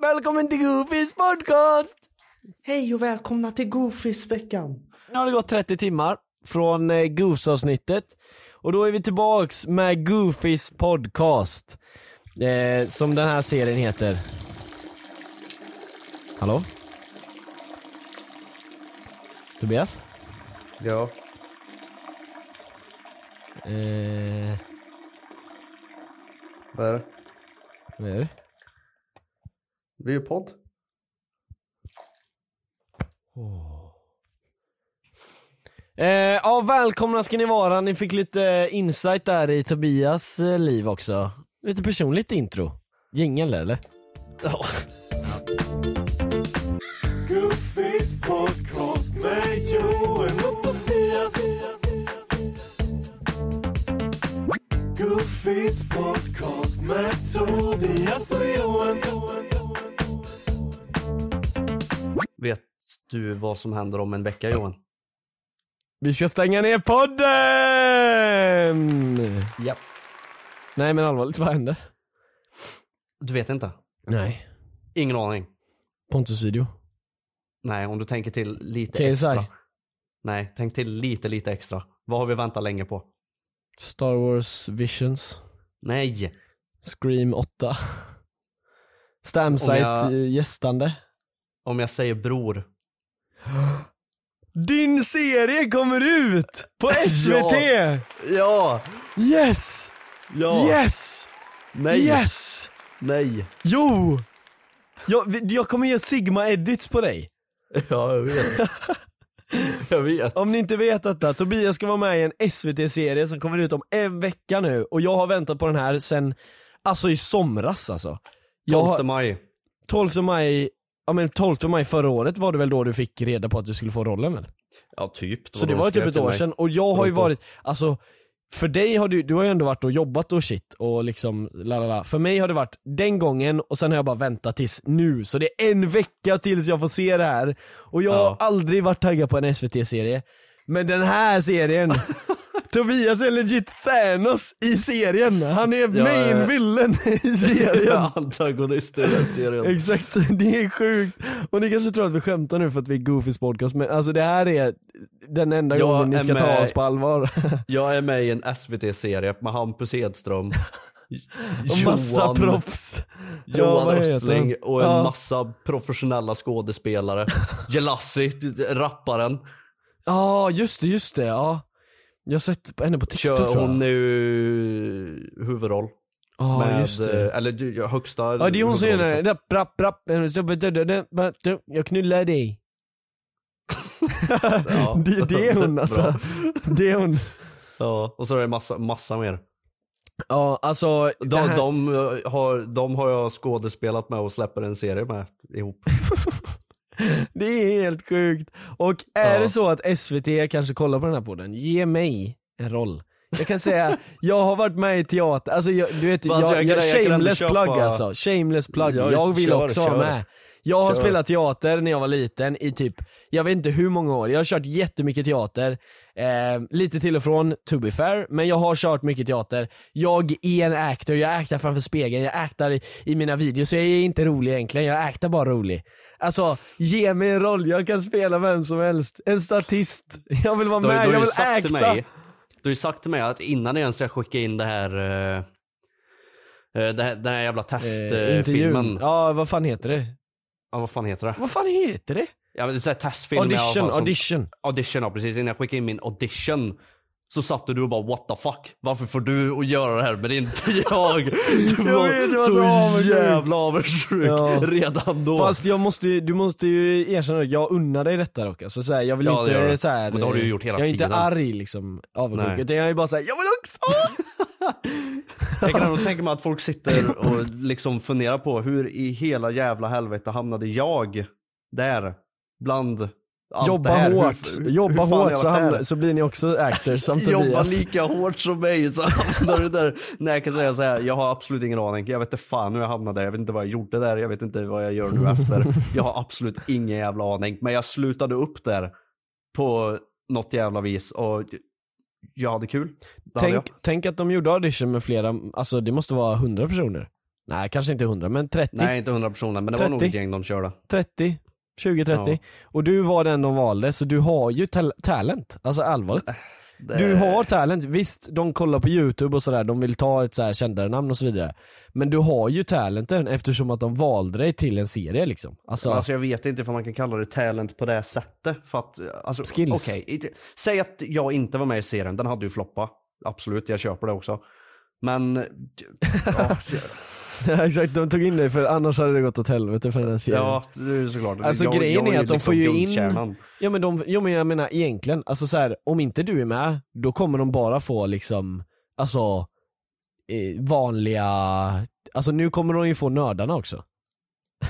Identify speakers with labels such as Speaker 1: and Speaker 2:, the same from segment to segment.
Speaker 1: välkommen till Goofys podcast!
Speaker 2: Hej och välkomna till Goofies-veckan.
Speaker 1: Nu har det gått 30 timmar från eh, Goofs-avsnittet och då är vi tillbaks med Goofys podcast. Eh, som den här serien heter. Hallå? Tobias?
Speaker 2: Ja.
Speaker 1: Eh,
Speaker 2: Vad är det?
Speaker 1: vad är det?
Speaker 2: Vi är ju podd.
Speaker 1: Eh, ja, välkomna ska ni vara. Ni fick lite eh, insight där i Tobias eh, liv också. Lite personligt intro. Jingel eller?
Speaker 2: Ja.
Speaker 3: Goofys podcast med Johan och Tobias. Goofys podcast med Tobias och Johan.
Speaker 4: Vet du vad som händer om en vecka Johan?
Speaker 1: Vi ska stänga ner podden!
Speaker 4: Ja.
Speaker 1: Nej men allvarligt, vad händer?
Speaker 4: Du vet inte?
Speaker 1: Nej.
Speaker 4: Ingen aning.
Speaker 1: Pontus video.
Speaker 4: Nej, om du tänker till lite
Speaker 1: KSI.
Speaker 4: extra. Nej, tänk till lite, lite extra. Vad har vi väntat länge på?
Speaker 1: Star Wars Visions.
Speaker 4: Nej!
Speaker 1: Scream 8. Stamsite
Speaker 4: Om jag-
Speaker 1: eh, gästande.
Speaker 4: Om jag säger bror.
Speaker 1: Din serie kommer ut! På SVT!
Speaker 4: Ja!
Speaker 1: Yes!
Speaker 4: Ja!
Speaker 1: Yes!
Speaker 4: Nej!
Speaker 1: Yes!
Speaker 4: Nej!
Speaker 1: Jo! Jag, vi- jag kommer ge sigma-edits på dig.
Speaker 4: Ja, jag vet. jag vet.
Speaker 1: Om ni inte vet detta, Tobias ska vara med i en SVT-serie som kommer ut om en vecka nu och jag har väntat på den här sen, alltså i somras alltså. Jag
Speaker 4: 12
Speaker 1: har,
Speaker 4: maj.
Speaker 1: 12 maj, ja men 12 maj förra året var det väl då du fick reda på att du skulle få rollen väl?
Speaker 4: Ja, typ.
Speaker 1: Så
Speaker 4: då
Speaker 1: det
Speaker 4: de
Speaker 1: var ju
Speaker 4: skrev
Speaker 1: typ ett
Speaker 4: till
Speaker 1: år
Speaker 4: mig.
Speaker 1: sedan och jag har ju
Speaker 4: Runt om.
Speaker 1: varit, alltså för dig har du, du har ju ändå varit och jobbat och shit och liksom la la la. För mig har det varit den gången och sen har jag bara väntat tills nu. Så det är en vecka tills jag får se det här. Och jag har
Speaker 4: Ja.
Speaker 1: aldrig varit taggad på en SVT-serie. Men den här serien, Tobias är legit Thanos i serien. Han är
Speaker 4: Ja,
Speaker 1: main
Speaker 4: eh.
Speaker 1: villain i serien.
Speaker 4: Ja, antagonist i den här serien.
Speaker 1: Exakt, det är sjukt. Och ni kanske tror att vi skämtar nu för att vi är Goofys podcast, men alltså det här är den enda
Speaker 4: Jag
Speaker 1: gången ni
Speaker 4: är
Speaker 1: ska ta
Speaker 4: med.
Speaker 1: oss på allvar.
Speaker 4: Jag är med i en SVT-serie med Hampus Hedström,
Speaker 1: Och massa proffs. Ja, vad
Speaker 4: Johan
Speaker 1: heter
Speaker 4: Östling
Speaker 1: han?
Speaker 4: och en
Speaker 1: Ja.
Speaker 4: massa professionella skådespelare. Jelassi, rapparen,
Speaker 1: Ja, just det, just det. Ja. Jag har sett henne på TikTok
Speaker 4: kör
Speaker 1: Typ, tror jag.
Speaker 4: hon nu huvudroll.
Speaker 1: Ja,
Speaker 4: med,
Speaker 1: just det.
Speaker 4: eh, Eller du, ja, högsta
Speaker 1: Ja, det är hon som gör
Speaker 4: huvudroll,
Speaker 1: den här,
Speaker 4: liksom.
Speaker 1: där, brapp, brapp, eh, så- dö- dö- dö- dö- dö- jag knullar dig.
Speaker 4: Ja.
Speaker 1: det, det är hon
Speaker 4: Bra.
Speaker 1: alltså. Det är hon.
Speaker 4: Ja, och så är det massa, massa mer.
Speaker 1: Ja, alltså. det
Speaker 4: De,
Speaker 1: här-
Speaker 4: de, eh, har, de har jag skådespelat med och släpper en serie med ihop.
Speaker 1: Det är helt sjukt. Och är
Speaker 4: Ja.
Speaker 1: det så att SVT kanske kollar på den här podden, ge mig en roll. Jag kan säga, jag har varit med i teater, alltså jag, du vet,
Speaker 4: Fast
Speaker 1: jag,
Speaker 4: jag
Speaker 1: jag,
Speaker 4: kan- jag kan ändå
Speaker 1: shameless
Speaker 4: köpa-
Speaker 1: plug alltså, shameless plug.
Speaker 4: Ja,
Speaker 1: Jag vill
Speaker 4: kör,
Speaker 1: också vara
Speaker 4: kör.
Speaker 1: med. Jag har
Speaker 4: Kör.
Speaker 1: spelat teater när jag var liten i typ, jag vet inte hur många år, jag har kört jättemycket teater. Eh, lite till och från, to be fair, men jag har kört mycket teater. Jag är en actor, jag actar framför spegeln, jag actar i, i mina videos, jag är inte rolig egentligen, jag actar bara rolig. Alltså, ge mig en roll, jag kan spela vem som helst. En statist. Jag vill vara
Speaker 4: Du har,
Speaker 1: med, jag
Speaker 4: du har ju
Speaker 1: vill
Speaker 4: sagt till
Speaker 1: acta.
Speaker 4: mig, du har ju sagt till mig att innan jag ens ska skicka in det här, eh, eh, det här den här jävla
Speaker 1: Eh,
Speaker 4: testfilmen.
Speaker 1: intervjun.
Speaker 4: ja.
Speaker 1: Ja, vad fan heter det?
Speaker 4: vad fan heter det?
Speaker 1: Vad fan heter det?
Speaker 4: Ja, men det är så här testfilm i alla fall
Speaker 1: Audition,
Speaker 4: som-
Speaker 1: audition.
Speaker 4: audition, ja precis. Innan jag skickade in min audition så satt du och bara what the fuck? Varför får du att göra det här men inte jag? Du
Speaker 1: Jag
Speaker 4: var,
Speaker 1: vet, jag var
Speaker 4: så,
Speaker 1: så avundsjuk.
Speaker 4: jävla avundsjuk
Speaker 1: Ja.
Speaker 4: redan då.
Speaker 1: Fast jag måste, ju- du måste ju erkänna att jag unnar dig detta dock. Alltså, så här, jag vill
Speaker 4: Ja, det gör
Speaker 1: inte
Speaker 4: du.
Speaker 1: så här,
Speaker 4: Men det har du ju gjort hela
Speaker 1: Jag är inte
Speaker 4: tiden.
Speaker 1: arg liksom, avundsjuk.
Speaker 4: Nej.
Speaker 1: Utan jag är bara såhär, jag vill också!
Speaker 4: Jag kan ändå tänka mig att folk sitter och liksom funderar på hur i hela jävla helvete hamnade jag där? Bland allt
Speaker 1: Jobba
Speaker 4: det här.
Speaker 1: hårt,
Speaker 4: Hur, hur,
Speaker 1: jobba
Speaker 4: hur fan har
Speaker 1: hårt
Speaker 4: jag
Speaker 1: så,
Speaker 4: varit där?
Speaker 1: hamnar- så blir ni också actors som
Speaker 4: Jobba
Speaker 1: Tobias.
Speaker 4: lika hårt som mig så hamnar du där. Nej jag kan säga så här, jag har absolut ingen aning. Jag vet inte fan hur jag hamnade där. Jag vet inte vad jag gjorde där. Jag vet inte vad jag gör nu efter. Jag har absolut ingen jävla aning. Men jag slutade upp där på något jävla vis och jag hade kul. Det hade
Speaker 1: Tänk, tänk att de gjorde audition med flera, alltså det måste vara 100 personer. Nej, kanske inte 100 men 30.
Speaker 4: Nej inte 100 personer men det var nog
Speaker 1: 30.
Speaker 4: ett gäng de körde.
Speaker 1: 30. 20-30.
Speaker 4: Ja.
Speaker 1: Och du var den de valde, så du har ju tal- talent. Alltså allvarligt.
Speaker 4: Äh, Det-
Speaker 1: Du har talent. Visst, de kollar på youtube och sådär, de vill ta ett så här kändare namn och så vidare. Men du har ju talenten eftersom att de valde dig till en serie liksom. Alltså,
Speaker 4: Alltså jag vet inte om man kan kalla det talent på det sättet. För att, alltså,
Speaker 1: Skills.
Speaker 4: okej, inte- säg att jag inte var med i serien, den hade ju floppat. Absolut, jag köper det också. Men, ja,
Speaker 1: ja, exakt, de tog in dig för annars hade det gått åt helvete för den här serien.
Speaker 4: ja det är ju såklart.
Speaker 1: Alltså
Speaker 4: jag,
Speaker 1: grejen
Speaker 4: jag
Speaker 1: är att de får ju in,
Speaker 4: guldkärnan.
Speaker 1: ja men, de, ja, men jag menar egentligen, alltså så här, om inte du är med, då kommer de bara få liksom, alltså eh, vanliga, alltså nu kommer de ju få nördarna också.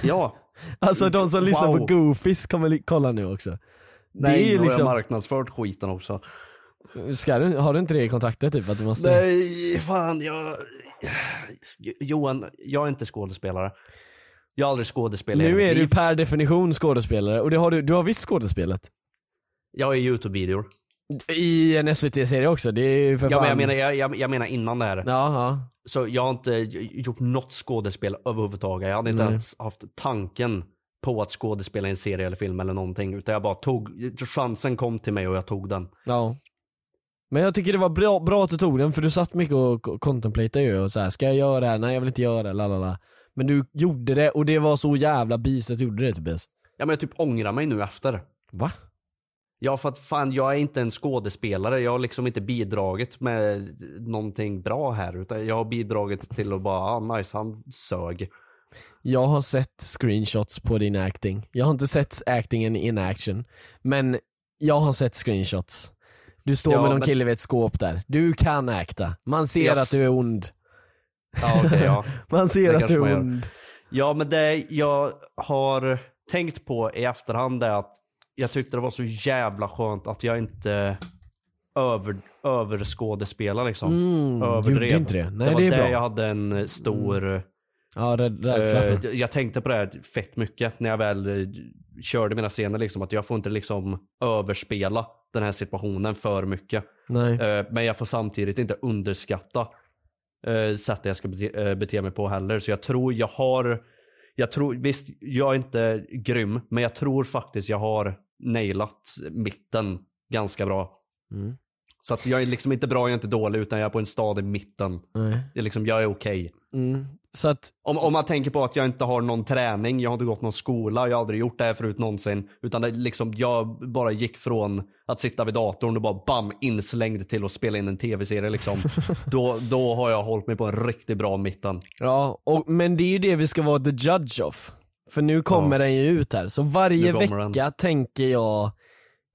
Speaker 4: Ja,
Speaker 1: Alltså de som lyssnar på
Speaker 4: Wow.
Speaker 1: Goofies kommer li- kolla nu också.
Speaker 4: nej,
Speaker 1: det är ju
Speaker 4: nu har jag
Speaker 1: liksom,
Speaker 4: marknadsfört skiten också.
Speaker 1: ska du, har du inte det i kontraktet typ att du måste?
Speaker 4: Nej, fan jag... Johan, jag är inte skådespelare. Jag har aldrig skådespelat i
Speaker 1: Nu
Speaker 4: mitt
Speaker 1: är du
Speaker 4: liv.
Speaker 1: per definition skådespelare och det har du, du har visst skådespelet.
Speaker 4: Jag är i Youtube-videor.
Speaker 1: I en SVT-serie också, det är ju för
Speaker 4: Ja, men
Speaker 1: fan-
Speaker 4: jag, menar, jag, jag, jag menar innan det här.
Speaker 1: Ja, ja.
Speaker 4: Så jag har inte gjort något skådespel överhuvudtaget. Jag hade inte
Speaker 1: Nej.
Speaker 4: ens haft tanken på att skådespela i en serie eller film eller någonting. Utan jag bara tog, chansen kom till mig och jag tog den.
Speaker 1: Ja. Men jag tycker det var bra, bra att du tog den för du satt mycket och k- contemplatade ju och så här, ska jag göra det här? Nej jag vill inte göra det, lalala. Men du gjorde det och det var så jävla beast att du gjorde det Tobias.
Speaker 4: Ja, men jag typ ångrar mig nu efter.
Speaker 1: Va?
Speaker 4: Ja för att fan jag är inte en skådespelare. Jag har liksom inte bidragit med någonting bra här. Utan jag har bidragit till att bara, ah, nice han sög.
Speaker 1: Jag har sett screenshots på din acting. Jag har inte sett actingen in action. Men jag har sett screenshots. Du står
Speaker 4: Ja,
Speaker 1: med någon
Speaker 4: men-
Speaker 1: kille vid ett skåp där. Du kan acta. Man ser
Speaker 4: Yes.
Speaker 1: att du är ond.
Speaker 4: Ja, okej, ja.
Speaker 1: Man ser
Speaker 4: Det
Speaker 1: att
Speaker 4: kanske
Speaker 1: du
Speaker 4: man
Speaker 1: är
Speaker 4: gör.
Speaker 1: ond.
Speaker 4: Ja, men det jag har tänkt på i efterhand är att jag tyckte det var så jävla skönt att jag inte över, överskådespelade liksom.
Speaker 1: Mm, du gjorde inte det. Nej
Speaker 4: det var
Speaker 1: det är
Speaker 4: där
Speaker 1: bra.
Speaker 4: jag hade en eh, stor...
Speaker 1: Ja, rädd- rädsla
Speaker 4: eh,
Speaker 1: för.
Speaker 4: jag- jag tänkte på det här fett mycket när jag väl eh, körde mina scener. Liksom, att jag får inte liksom överspela den här situationen för mycket.
Speaker 1: Nej.
Speaker 4: Eh, Men jag får samtidigt inte underskatta eh, sättet jag ska bete, eh, bete mig på heller. Så jag tror jag har, jag tror, visst jag är inte grym, men jag tror faktiskt jag har nailat mitten ganska bra.
Speaker 1: Mm.
Speaker 4: Så att jag är liksom inte bra, jag är inte dålig, utan jag är på en stadig mitten.
Speaker 1: Nej.
Speaker 4: Det är liksom, jag är okej.
Speaker 1: Mm. Så att
Speaker 4: Om, om man tänker på att jag inte har någon träning, jag har inte gått någon skola, jag har aldrig gjort det här förut någonsin. Utan det är liksom, jag bara gick från att sitta vid datorn och bara bam, inslängd till att spela in en tv-serie. Liksom. då, då har jag hållit mig på en riktigt bra mitten.
Speaker 1: Ja, och, men det är ju det vi ska vara the judge of. För nu kommer den ju ut här, så varje
Speaker 4: Nu kommer
Speaker 1: vecka tänker jag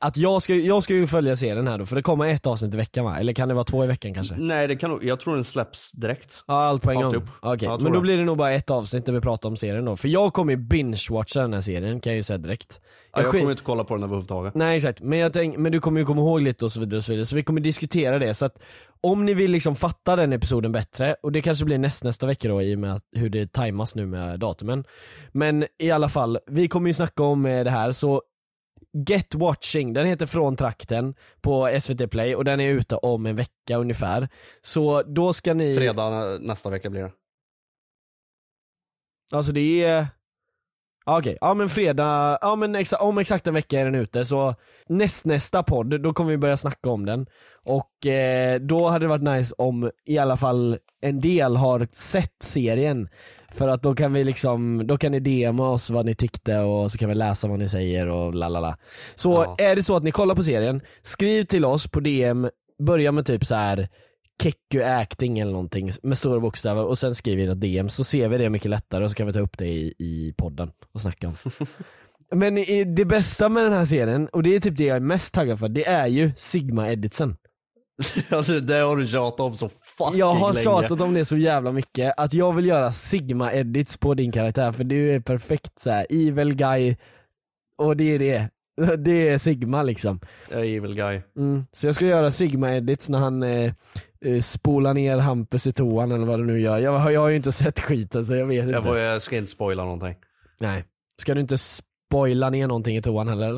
Speaker 1: att jag ska, jag ska ju följa serien här då, för det kommer ett avsnitt i veckan va? Eller kan det vara två i veckan kanske?
Speaker 4: Nej, det kan, nog- jag tror den släpps direkt.
Speaker 1: Ja, allt på en
Speaker 4: Mm. Allt
Speaker 1: gång?
Speaker 4: ihop.
Speaker 1: Okej,
Speaker 4: Ja, jag tror
Speaker 1: men då
Speaker 4: det.
Speaker 1: blir det nog bara ett avsnitt där vi pratar om serien då. För jag kommer ju binge-watcha den här serien kan jag ju säga direkt.
Speaker 4: Jag,
Speaker 1: skit-
Speaker 4: kommer inte kolla på den överhuvudtaget.
Speaker 1: Nej exakt, men, jag tänk, men du kommer ju komma ihåg lite och så vidare och så vidare, så vi kommer diskutera det så att om ni vill liksom fatta den episoden bättre, och det kanske blir näst, nästa vecka då i och med att, hur det tajmas nu med datumen. Men i alla fall, vi kommer ju snacka om eh, det här så Get Watching, den heter Från trakten på SVT play och den är ute om en vecka ungefär. Så då ska ni...
Speaker 4: Fredag eh, nästa vecka blir det.
Speaker 1: Alltså det är... Ja, Okej, ja men fredag, ja men exa, om exakt en vecka är den ute så näst, nästa podd, då kommer vi börja snacka om den. Och eh, då hade det varit nice om i alla fall en del har sett serien. För att då kan vi liksom, då kan ni DMa oss vad ni tyckte och så kan vi läsa vad ni säger och la la la. Så
Speaker 4: Ja.
Speaker 1: är det så att ni kollar på serien, skriv till oss på DM, börja med typ så här Keku acting eller någonting med stora bokstäver och sen skriver era DM så ser vi det mycket lättare och så kan vi ta upp det i, i podden och snacka om. Men i- det bästa med den här serien, och det är typ det jag är mest taggad för, det är ju Sigma Editsen.
Speaker 4: alltså, det har du tjatat om så fucking
Speaker 1: Jag har
Speaker 4: länge.
Speaker 1: tjatat om det så jävla mycket, att jag vill göra Sigma Edits på din karaktär för du är perfekt så här evil guy och det är det. Det är Sigma liksom.
Speaker 4: Jag är evil guy.
Speaker 1: Mm. Så jag ska göra Sigma-edits när han eh, eh, spolar ner Hampus i toan eller vad det nu gör. Jag, har- jag har ju inte sett skiten så jag vet inte.
Speaker 4: Jag, får, jag ska inte spoila någonting.
Speaker 1: Nej. Ska du inte spoila ner någonting i toan heller?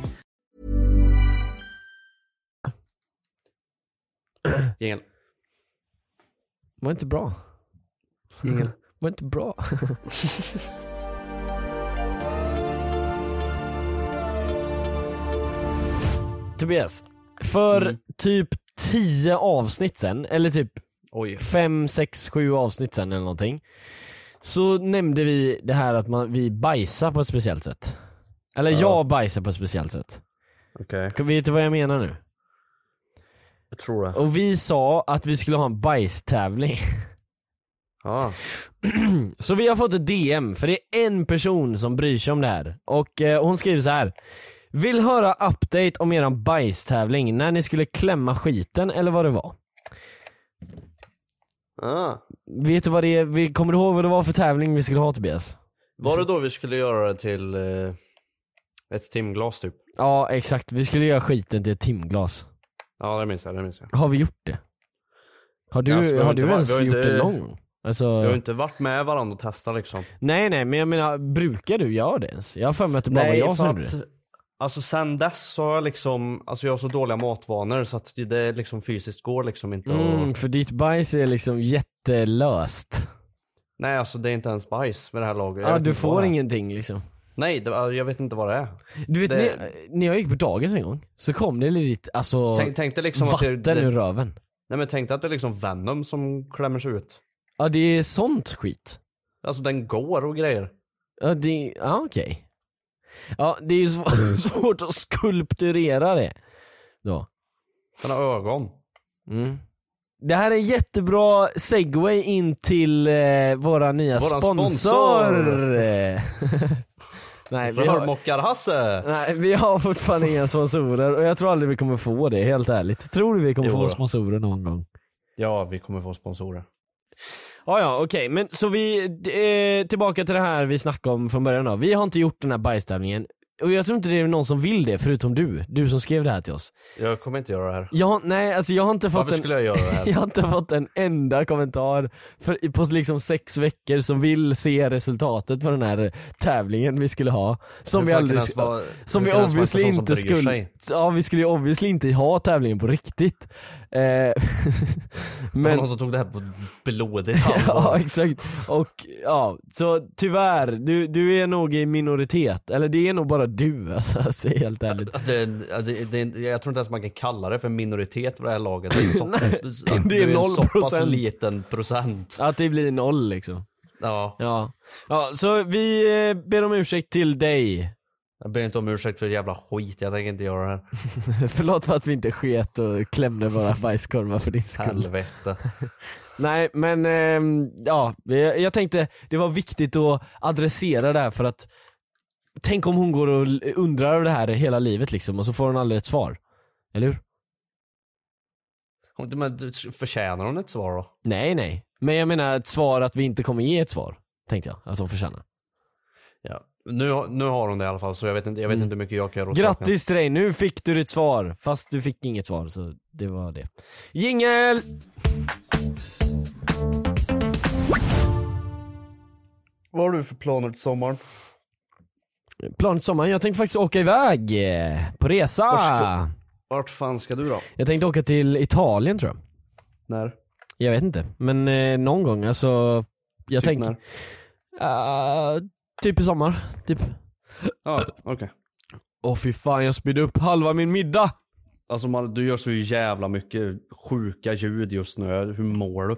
Speaker 4: Jingel.
Speaker 1: Var inte bra.
Speaker 4: Jingel.
Speaker 1: Var inte bra. Tobias, för typ 10 avsnitt sen, eller typ
Speaker 4: Oj.
Speaker 1: 5, 6, 7 avsnitt sen eller någonting. Så nämnde vi det här att man, vi bajsar på ett speciellt sätt. Eller
Speaker 4: Ja.
Speaker 1: jag bajsar på ett speciellt sätt.
Speaker 4: Okej.
Speaker 1: Vet du vad jag menar nu?
Speaker 4: Jag tror det.
Speaker 1: Och vi sa att vi skulle ha en bajstävling.
Speaker 4: Ja.
Speaker 1: Så vi har fått ett DM, för det är en person som bryr sig om det här. Och eh, hon skriver så här. Vill höra update om eran bajstävling, när ni skulle klämma skiten eller vad det var.
Speaker 4: Ah.
Speaker 1: Vet du vad det är, vi- kommer du ihåg vad det var för tävling vi skulle ha Tobias?
Speaker 4: Var det då vi skulle göra det till eh, ett timglas typ?
Speaker 1: Ja exakt, vi skulle göra skiten till ett timglas.
Speaker 4: Ja det minns jag, det minns jag.
Speaker 1: Har vi gjort det? Har du,
Speaker 4: Ja, alltså, vi har
Speaker 1: har du
Speaker 4: inte varit- vi
Speaker 1: ens
Speaker 4: har
Speaker 1: gjort
Speaker 4: inte-
Speaker 1: det någon gång? Alltså,
Speaker 4: Vi har ju inte varit med varandra och testat liksom.
Speaker 1: nej nej men jag menar, brukar du göra det ens? Jag har för mig att det bara var jag som gjorde det.
Speaker 4: Alltså sen dess så har jag liksom, alltså jag har så dåliga matvanor så att det- det liksom fysiskt går liksom inte
Speaker 1: Mm,
Speaker 4: att...
Speaker 1: för ditt bajs är liksom jättelöst.
Speaker 4: Nej alltså det är inte ens bajs med det här laget. Jag
Speaker 1: Ja,
Speaker 4: vet
Speaker 1: du
Speaker 4: inte vad
Speaker 1: får
Speaker 4: det är.
Speaker 1: ingenting liksom.
Speaker 4: Nej, det, alltså, jag vet inte vad det är.
Speaker 1: Du vet,
Speaker 4: Det-
Speaker 1: när, när jag gick på dagis en gång, så kom det lite, alltså,
Speaker 4: Tänk, tänkte liksom att det,
Speaker 1: vatten
Speaker 4: det,
Speaker 1: ur röven.
Speaker 4: nej, men tänkte att det är liksom Venom som klämmer sig ut.
Speaker 1: Ja det är sånt skit.
Speaker 4: Alltså den går och grejer.
Speaker 1: Ja det, ja okej. Ja det är ju
Speaker 4: Mm.
Speaker 1: sv- svårt att skulpturera det. Då.
Speaker 4: Den har ögon.
Speaker 1: Mm. Det här är en jättebra segway in till eh, våra nya
Speaker 4: Våran
Speaker 1: sponsor. Nej, vi har,
Speaker 4: Rörmockar-Hasse!
Speaker 1: nej vi har fortfarande inga sponsorer och jag tror aldrig vi kommer få det helt ärligt. Tror du vi kommer
Speaker 4: Jo
Speaker 1: få
Speaker 4: då.
Speaker 1: sponsorer någon gång?
Speaker 4: Ja, vi kommer få sponsorer.
Speaker 1: Ja, ja, okej. Men så vi, eh, tillbaka till det här vi snackade om från början då. Vi har inte gjort den här bajstävlingen. Och jag tror inte det är någon som vill det, förutom du. Du som skrev det här till oss.
Speaker 4: Jag kommer inte göra det här.
Speaker 1: Jag, har- nej, alltså jag har inte fått
Speaker 4: Varför
Speaker 1: en...
Speaker 4: skulle jag göra det här?
Speaker 1: Jag har inte fått en enda kommentar för, på liksom sex veckor som vill se resultatet på den här tävlingen vi skulle ha. Som
Speaker 4: Hur
Speaker 1: vi
Speaker 4: fan
Speaker 1: aldrig...
Speaker 4: kan ens vara-
Speaker 1: Som
Speaker 4: hur
Speaker 1: vi
Speaker 4: kan ens vara en
Speaker 1: obviously
Speaker 4: person som
Speaker 1: inte
Speaker 4: bryr
Speaker 1: skulle...
Speaker 4: sig?
Speaker 1: Ja, vi skulle ju obviously inte ha tävlingen på riktigt. Eh,
Speaker 4: Det var
Speaker 1: men...
Speaker 4: Någon som tog det här på blodigt
Speaker 1: Ja
Speaker 4: allvar.
Speaker 1: exakt, och ja, så tyvärr, du, du är nog i minoritet, eller det är nog bara du alltså, alltså helt ärligt.
Speaker 4: Att det, att det, det, jag tror inte ens man kan kalla det för minoritet på det här laget. Det är, så,
Speaker 1: är
Speaker 4: du en
Speaker 1: noll
Speaker 4: så pass
Speaker 1: procent.
Speaker 4: liten procent.
Speaker 1: Att det blir noll liksom.
Speaker 4: Ja,
Speaker 1: Ja, ja så vi eh, ber om ursäkt till dig.
Speaker 4: jag ber inte om ursäkt för jävla skit, jag tänker inte göra det här.
Speaker 1: Förlåt för att vi inte sket och klämde våra bajskorvar för din skull.
Speaker 4: Helvete.
Speaker 1: Nej men, ehm, ja, jag jag tänkte det var viktigt att adressera det här för att Tänk om hon går och l- undrar över det här hela livet liksom och så får hon aldrig ett svar. Eller hur?
Speaker 4: Om inte- Men du- förtjänar hon ett svar då?
Speaker 1: Nej nej, men jag menar ett svar att vi inte kommer ge ett svar. Tänkte jag att de förtjänar.
Speaker 4: Ja. Nu, har- nu har hon det i alla fall så jag vet inte, jag vet inte hur mycket jag kan göra åt saken.
Speaker 1: Mm. Grattis till dig, nu fick du ditt svar. Fast du fick inget svar, så det var det. Jingel!
Speaker 2: Vad har du för planer till sommaren?
Speaker 1: Plan till sommaren, jag tänkte faktiskt åka iväg eh, på resa.
Speaker 4: Varsågod. Vart fan ska du då?
Speaker 1: Jag tänkte åka till Italien tror jag.
Speaker 4: När?
Speaker 1: Jag vet inte, men eh, någon gång alltså. Jag
Speaker 4: Typ
Speaker 1: tänker,
Speaker 4: när?
Speaker 1: eh, typ i sommar, typ.
Speaker 4: Ja, okej.
Speaker 1: Åh fy fan jag spydde upp halva min middag!
Speaker 4: Alltså man, du gör så jävla mycket sjuka ljud just nu. Hur mår du?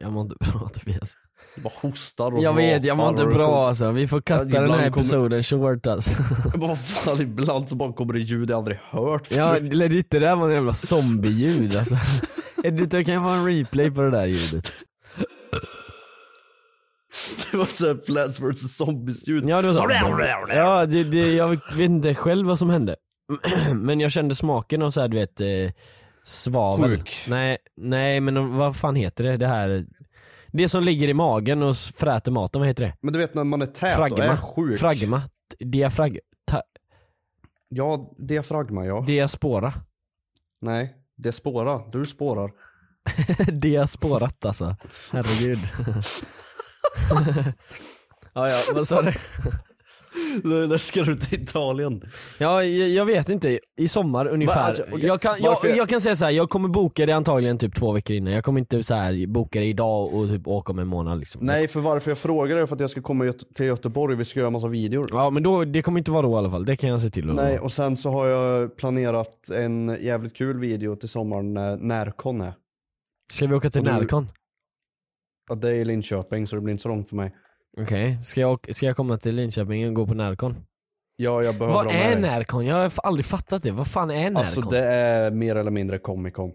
Speaker 1: Jag mår inte bra Tobias.
Speaker 4: Du bara hostar och
Speaker 1: Jag vet, jag mår
Speaker 4: rapar
Speaker 1: inte
Speaker 4: och-
Speaker 1: bra alltså. Vi får
Speaker 4: Ja,
Speaker 1: katta
Speaker 4: ibland
Speaker 1: den här
Speaker 4: kommer-
Speaker 1: episoden short alltså.
Speaker 4: Vad fan, ibland så bara kommer det ljud jag aldrig hört
Speaker 1: Ja
Speaker 4: förut.
Speaker 1: legit, det där var en jävla zombie-ljud alltså. Edith, jag kan få en replay på det där ljudet.
Speaker 4: Det var såhär Plants vs Zombies ljud.
Speaker 1: Ja det var så. Ja, det, det, jag vet inte själv vad som hände. Men jag kände smaken av såhär du vet, eh, svavel.
Speaker 4: Sjuk.
Speaker 1: Nej, nej men de- vad fan heter det? Det här, det som ligger i magen och s- fräter maten, vad heter det?
Speaker 4: Men du vet när man är tät och är
Speaker 1: Fragma.
Speaker 4: sjuk.
Speaker 1: Fragma. Diafrag... Ta,
Speaker 4: Ja, diafragma ja.
Speaker 1: diaspora.
Speaker 4: Nej, det spårar. Du spårar.
Speaker 1: Diasporat alltså. Herregud. ja, ja, vad sa du?
Speaker 4: Nej, När ska du till Italien?
Speaker 1: Ja, jag, jag vet inte. I sommar ungefär.
Speaker 4: alltså, okej.
Speaker 1: jag, kan, jag,
Speaker 4: Varför-
Speaker 1: jag kan säga så här, jag kommer boka det antagligen typ två veckor innan. Jag kommer inte så här boka det idag och typ åka om en månad liksom.
Speaker 4: Nej, för varför jag frågar är för att jag ska komma Göte- till Göteborg. Vi ska göra massa videor.
Speaker 1: Ja men då, det kommer inte vara då i alla fall. Det kan jag se till. att-
Speaker 4: Nej, och sen så har jag planerat en jävligt kul video till sommaren när Närcon är.
Speaker 1: Ska vi åka till
Speaker 4: Och du-
Speaker 1: Närcon?
Speaker 4: Ja, Det är i Linköping så det blir inte så långt för mig.
Speaker 1: Okej, ska, jag, åka- ska jag komma till Linköping och gå på Närcon?
Speaker 4: Ja, jag behöver
Speaker 1: Vad
Speaker 4: ha
Speaker 1: är
Speaker 4: med dig.
Speaker 1: Närcon? Jag har f- aldrig fattat det. Vad fan är Närcon?
Speaker 4: Alltså det är mer eller mindre Comic Con.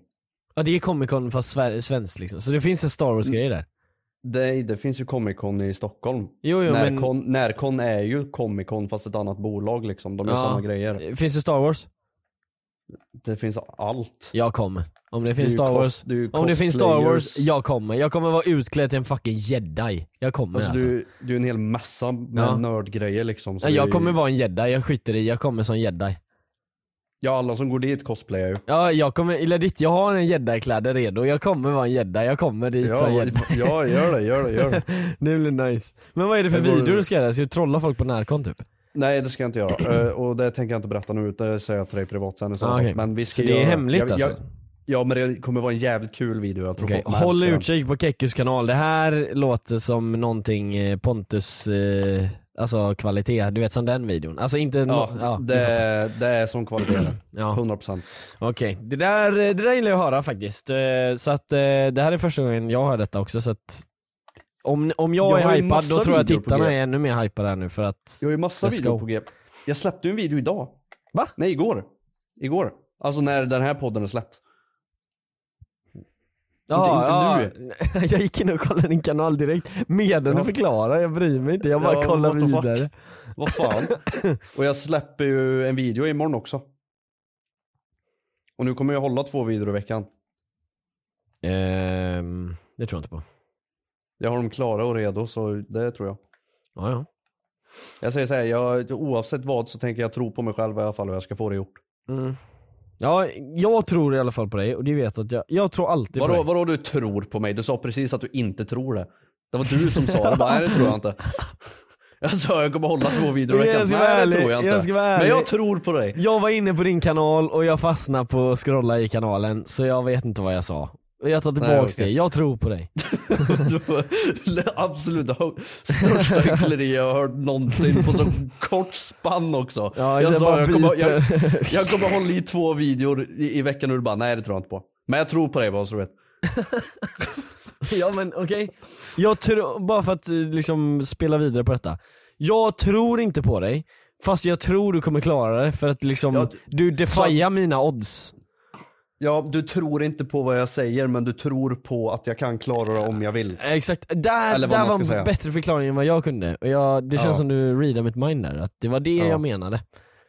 Speaker 1: Ja det är Comic Con fast sve- svenskt liksom. Så det finns en Star Wars grej där.
Speaker 4: Det, det finns ju Comic Con i Stockholm.
Speaker 1: Jo, jo men...
Speaker 4: Närcon, Närcon är ju Comic Con fast ett annat bolag liksom. De gör
Speaker 1: Ja.
Speaker 4: samma grejer.
Speaker 1: Finns det Star Wars?
Speaker 4: Det finns allt.
Speaker 1: Jag kommer. Om det
Speaker 4: är
Speaker 1: finns
Speaker 4: ju
Speaker 1: Star
Speaker 4: cos-
Speaker 1: Wars,
Speaker 4: det är ju
Speaker 1: om det finns Star Wars,
Speaker 4: cosplayers.
Speaker 1: jag kommer. Jag kommer vara utklädd till en fucking jedi. Jag kommer alltså.
Speaker 4: Alltså, Du, du är en hel massa med
Speaker 1: Ja.
Speaker 4: nördgrejer liksom. så
Speaker 1: Nej,
Speaker 4: det
Speaker 1: jag
Speaker 4: är-
Speaker 1: kommer vara en jedi, jag skiter i, jag kommer som jedi.
Speaker 4: Ja alla som går dit cosplayar ju.
Speaker 1: Ja, jag kommer, eller ditt, jag har en jedi-kläder redo, jag kommer vara en jedi, jag kommer dit
Speaker 4: Ja,
Speaker 1: som jedi.
Speaker 4: ja gör det, gör det, gör det.
Speaker 1: Det blir nice. Men vad är det för
Speaker 4: Det vore-
Speaker 1: video du ska göra? Ska du trolla folk på närkon typ?
Speaker 4: Nej det ska jag inte göra. Eh, Och det tänker jag inte berätta nu. Det säger jag till dig privat sen i så
Speaker 1: Ah,
Speaker 4: fall.
Speaker 1: okej.
Speaker 4: Men vi ska
Speaker 1: Så det är
Speaker 4: göra...
Speaker 1: hemligt,
Speaker 4: jag, jag,
Speaker 1: alltså?
Speaker 4: Ja men det kommer vara en jävligt kul video. Jag tror
Speaker 1: Okej,
Speaker 4: folk kommer
Speaker 1: håll
Speaker 4: älska den.
Speaker 1: utkik på Kekkus kanal. Det här låter som någonting eh, Pontus, eh, alltså kvalitet, du vet som den videon. Alltså inte
Speaker 4: Ja,
Speaker 1: no- ja,
Speaker 4: det, det är som kvalitet.
Speaker 1: Mm. Ja.
Speaker 4: 100%.
Speaker 1: Okej, det, där, eh, det där gillar jag att höra faktiskt. Eh, Så att eh, det här är första gången jag hör detta också så att om, om jag,
Speaker 4: Jag har
Speaker 1: är
Speaker 4: ju
Speaker 1: hypad
Speaker 4: massa
Speaker 1: då tror jag att
Speaker 4: videor på
Speaker 1: tittarna
Speaker 4: G.
Speaker 1: är ännu mer hypade här nu för att
Speaker 4: Jag har ju massa
Speaker 1: Let's go.
Speaker 4: videor på G. Jag släppte ju en video idag.
Speaker 1: Va?
Speaker 4: Nej igår. Igår. Alltså när den här podden är släppt. inte
Speaker 1: nu. jag gick in och kollade din kanal direkt medan du
Speaker 4: Ja.
Speaker 1: förklarar, jag bryr mig inte, jag bara
Speaker 4: Ja,
Speaker 1: kollar
Speaker 4: what the fuck?
Speaker 1: vidare.
Speaker 4: Vad fan. Och jag släpper ju en video imorgon också. Och nu kommer jag hålla två videor i veckan.
Speaker 1: Ehm, det tror jag inte på.
Speaker 4: Jag har dem klara och redo så det tror jag.
Speaker 1: Ja, ja.
Speaker 4: Jag säger så här, jag, oavsett vad så tänker jag tro på mig själv i alla fall och jag ska få det gjort.
Speaker 1: Mm. Ja, jag tror i alla fall på dig och du vet att jag, jag tror alltid på
Speaker 4: Vadå,
Speaker 1: dig.
Speaker 4: vadå du tror på mig? Du sa precis att du inte tror det. Det var du som sa det, bara, nej det tror jag inte. Jag sa jag kommer hålla två videor i
Speaker 1: Jag
Speaker 4: veckan,
Speaker 1: ska vara
Speaker 4: nej det
Speaker 1: ärlig,
Speaker 4: tror jag inte.
Speaker 1: jag ska vara
Speaker 4: Men
Speaker 1: ärlig.
Speaker 4: jag tror på dig.
Speaker 1: Jag var inne på din kanal och jag fastnade på att scrolla i kanalen så jag vet inte vad jag sa. Jag tar tillbaks
Speaker 4: okej.
Speaker 1: det, jag tror på dig.
Speaker 4: Det var det absoluta hö- största hyckleri jag har hört någonsin på så kort spann också.
Speaker 1: Ja,
Speaker 4: jag
Speaker 1: det
Speaker 4: sa
Speaker 1: bara
Speaker 4: jag kommer, jag,
Speaker 1: biter.
Speaker 4: jag kommer hålla i två videor i, i veckan och du bara nej det tror jag inte på. Men jag tror på dig bara så du vet.
Speaker 1: ja men okej. Jag tror, bara för att eh, liksom spela vidare på detta. Jag tror inte på dig, fast jag tror du kommer klara det för att liksom,
Speaker 4: Ja,
Speaker 1: du defiar mina odds.
Speaker 4: Ja, du tror inte på vad jag säger men du tror på att jag kan klara det om jag vill.
Speaker 1: Eh, Exakt, där,
Speaker 4: Eller vad
Speaker 1: där
Speaker 4: man
Speaker 1: var
Speaker 4: ska
Speaker 1: en
Speaker 4: säga.
Speaker 1: bättre förklaring än vad jag kunde. Och jag, det känns
Speaker 4: Ja.
Speaker 1: som du readade mitt mind där, att det var det
Speaker 4: Ja.
Speaker 1: jag menade.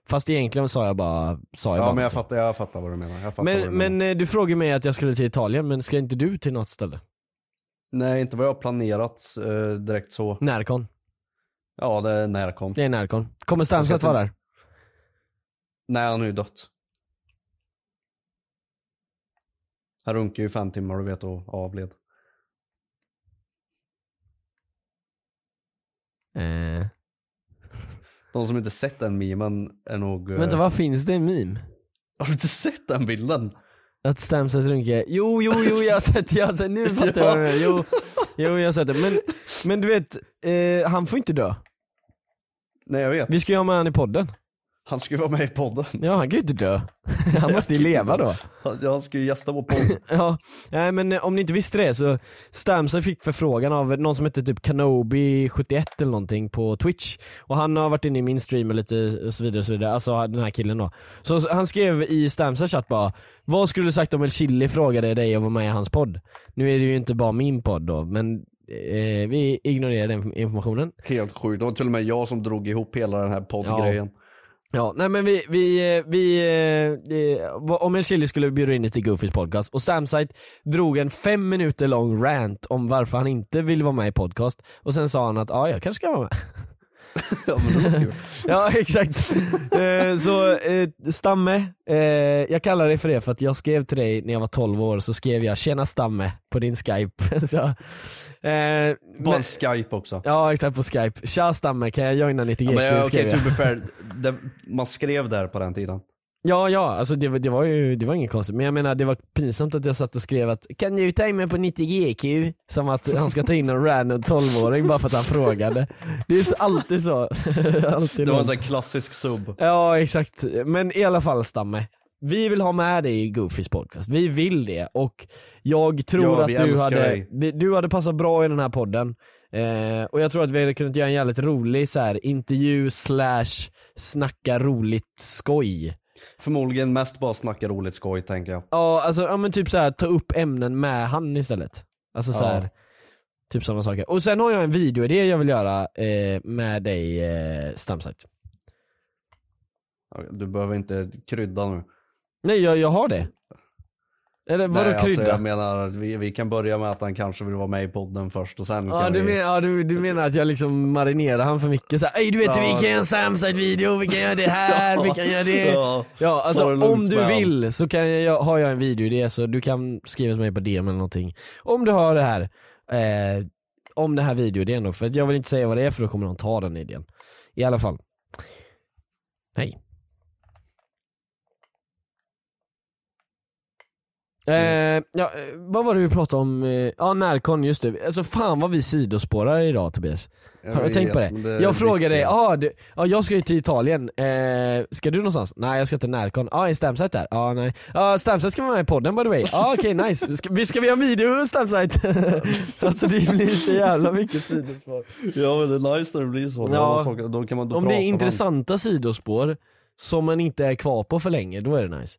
Speaker 1: Fast egentligen sa jag bara, sa jag bara
Speaker 4: Ja men jag
Speaker 1: någonting.
Speaker 4: fattar, jag fattar vad du menar. Jag fattar vad du
Speaker 1: Men,
Speaker 4: menar.
Speaker 1: men eh, du frågade mig att jag skulle till Italien, men ska inte du till något ställe? Mm.
Speaker 4: Nej inte vad jag har planerat eh, direkt så.
Speaker 1: Närcon.
Speaker 4: Ja, det är Närcon.
Speaker 1: Det är Närcon. Kommer Stamset vara där?
Speaker 4: Nej, han har ju dött. Han runkade ju fem timmar du vet och avled.
Speaker 1: Eh.
Speaker 4: De som inte sett den memen är nog... eh,
Speaker 1: Vänta, vad finns det i meme?
Speaker 4: Har du inte sett den bilden?
Speaker 1: Att Stamset runkar? Jo, jo, jo jag har sett jag har sett, nu fattar jag vad du menar. Jo, jo, jag har sett det. Men, men du vet, eh, han får inte dö.
Speaker 4: Nej jag vet.
Speaker 1: Vi ska ju ha med han i podden.
Speaker 4: Han ska ju vara med i podden.
Speaker 1: Ja, han kan ju inte dö. Han måste ju
Speaker 4: kan inte
Speaker 1: leva
Speaker 4: dö.
Speaker 1: då.
Speaker 4: Han, han ska ju gästa vår podd.
Speaker 1: Ja, nej men eh, om ni inte visste det så Stamset fick förfrågan av någon som hette typ Kanobi71 eller någonting på Twitch Och han har varit inne i min stream och lite och så vidare och så vidare, alltså den här killen då Så så han skrev i Stamsets chatt bara Vad skulle du sagt om El Chili frågade dig om att vara med i hans podd? Nu är det ju inte bara min podd då men eh, vi ignorerar den informationen
Speaker 4: Helt sjukt. Det var till och med jag som drog ihop hela den här poddgrejen.
Speaker 1: Ja, nej men vi, vi, eh, vi eh, eh, vad- om en chili skulle vi bjuda in dig till Goofys podcast och Samsite drog en fem minuter lång rant om varför han inte vill vara med i podcast och sen sa han att ja, jag kanske ska vara med.
Speaker 4: Ja, men det var kul.
Speaker 1: ja, exakt. Eh, så eh, Stamme, eh, jag kallar dig för det för att jag skrev till dig när jag var 12 år så skrev jag 'Tjena Stamme' på din skype. så, eh,
Speaker 4: Bara
Speaker 1: men,
Speaker 4: skype också.
Speaker 1: ja exakt på skype. 'Tja Stamme, kan jag joina 90
Speaker 4: Ja,
Speaker 1: GQ?'
Speaker 4: men jag-
Speaker 1: skrev
Speaker 4: Okej,
Speaker 1: jag.
Speaker 4: to be fair. Det, man skrev där på den tiden.
Speaker 1: Ja, ja, alltså det, var- det var ju det var inget konstigt, men jag menar det var pinsamt att jag satt och skrev att 'Kan du ta in mig på 90 GQ?' Som att han ska ta in en random 12-åring bara för att han frågade. Det är så- alltid så. alltid
Speaker 4: Det var en
Speaker 1: någon-
Speaker 4: sån här klassisk sub.
Speaker 1: Ja, exakt. Men i alla fall Stamme. Vi vill ha med dig i Goofys podcast, vi vill det och jag tror
Speaker 4: Ja, vi
Speaker 1: att du
Speaker 4: älskar
Speaker 1: hade,
Speaker 4: dig.
Speaker 1: vi- du hade passat bra i den här podden eh, och jag tror att vi hade kunnat göra en jävligt rolig så här, intervju slash snacka roligt skoj
Speaker 4: Förmodligen mest bara snacka roligt skoj tänker jag.
Speaker 1: Ja, alltså ja, men typ så här, ta upp ämnen med han istället. Alltså så
Speaker 4: Ja.
Speaker 1: här, typ sådana saker. Och sen har jag en videoidé jag vill göra eh, med dig, eh, Stamsite.
Speaker 4: Okej, Du behöver inte krydda nu.
Speaker 1: Nej, jag, jag har det. Eller vadå
Speaker 4: Nej,
Speaker 1: krydda?
Speaker 4: Alltså, jag menar, vi, vi kan börja med att han kanske vill vara med i podden först och sen
Speaker 1: Ja,
Speaker 4: kan
Speaker 1: du,
Speaker 4: vi...
Speaker 1: men, ja du, du menar att jag liksom marinerar han för mycket såhär, Ej du vet
Speaker 4: Ja.
Speaker 1: vi kan göra en Samsite-video, vi kan göra det här, vi kan göra det.
Speaker 4: Ja.
Speaker 1: Ja,
Speaker 4: Ta
Speaker 1: alltså
Speaker 4: det lugnt
Speaker 1: om du
Speaker 4: med han.
Speaker 1: vill så kan jag, har jag en videoidé så du kan skriva till mig på DM eller någonting. Om du har det här, eh, om den här videoidén då, för att jag vill inte säga vad det är för då kommer någon ta den idén. I alla fall. Hej. Eh, ja, eh, vad var det vi pratade om? Eh, Ja, Närcon, just det. Alltså fan vad vi sidospårar idag Tobias.
Speaker 4: Jag
Speaker 1: Har du
Speaker 4: vet,
Speaker 1: tänkt på det?
Speaker 4: men det är
Speaker 1: jag frågar
Speaker 4: ditt
Speaker 1: dig,
Speaker 4: fel.
Speaker 1: ah, du, ja jag ska ju till Italien, eh, ska du någonstans? Nej jag ska till Närcon, ja ah, är Stamsite där? Ja ah, nej, ah, Stamsite ska vara med i podden by the way, ah, okej nice, ska vi, ska vi ha en video med Stamsite? alltså det blir så jävla mycket sidospår
Speaker 4: Ja men det är nice när det blir så.
Speaker 1: Ja.
Speaker 4: Ja. Saker, då kan man då
Speaker 1: Om det
Speaker 4: prata
Speaker 1: är
Speaker 4: med
Speaker 1: intressanta sidospår som man inte är kvar på för länge, då är det nice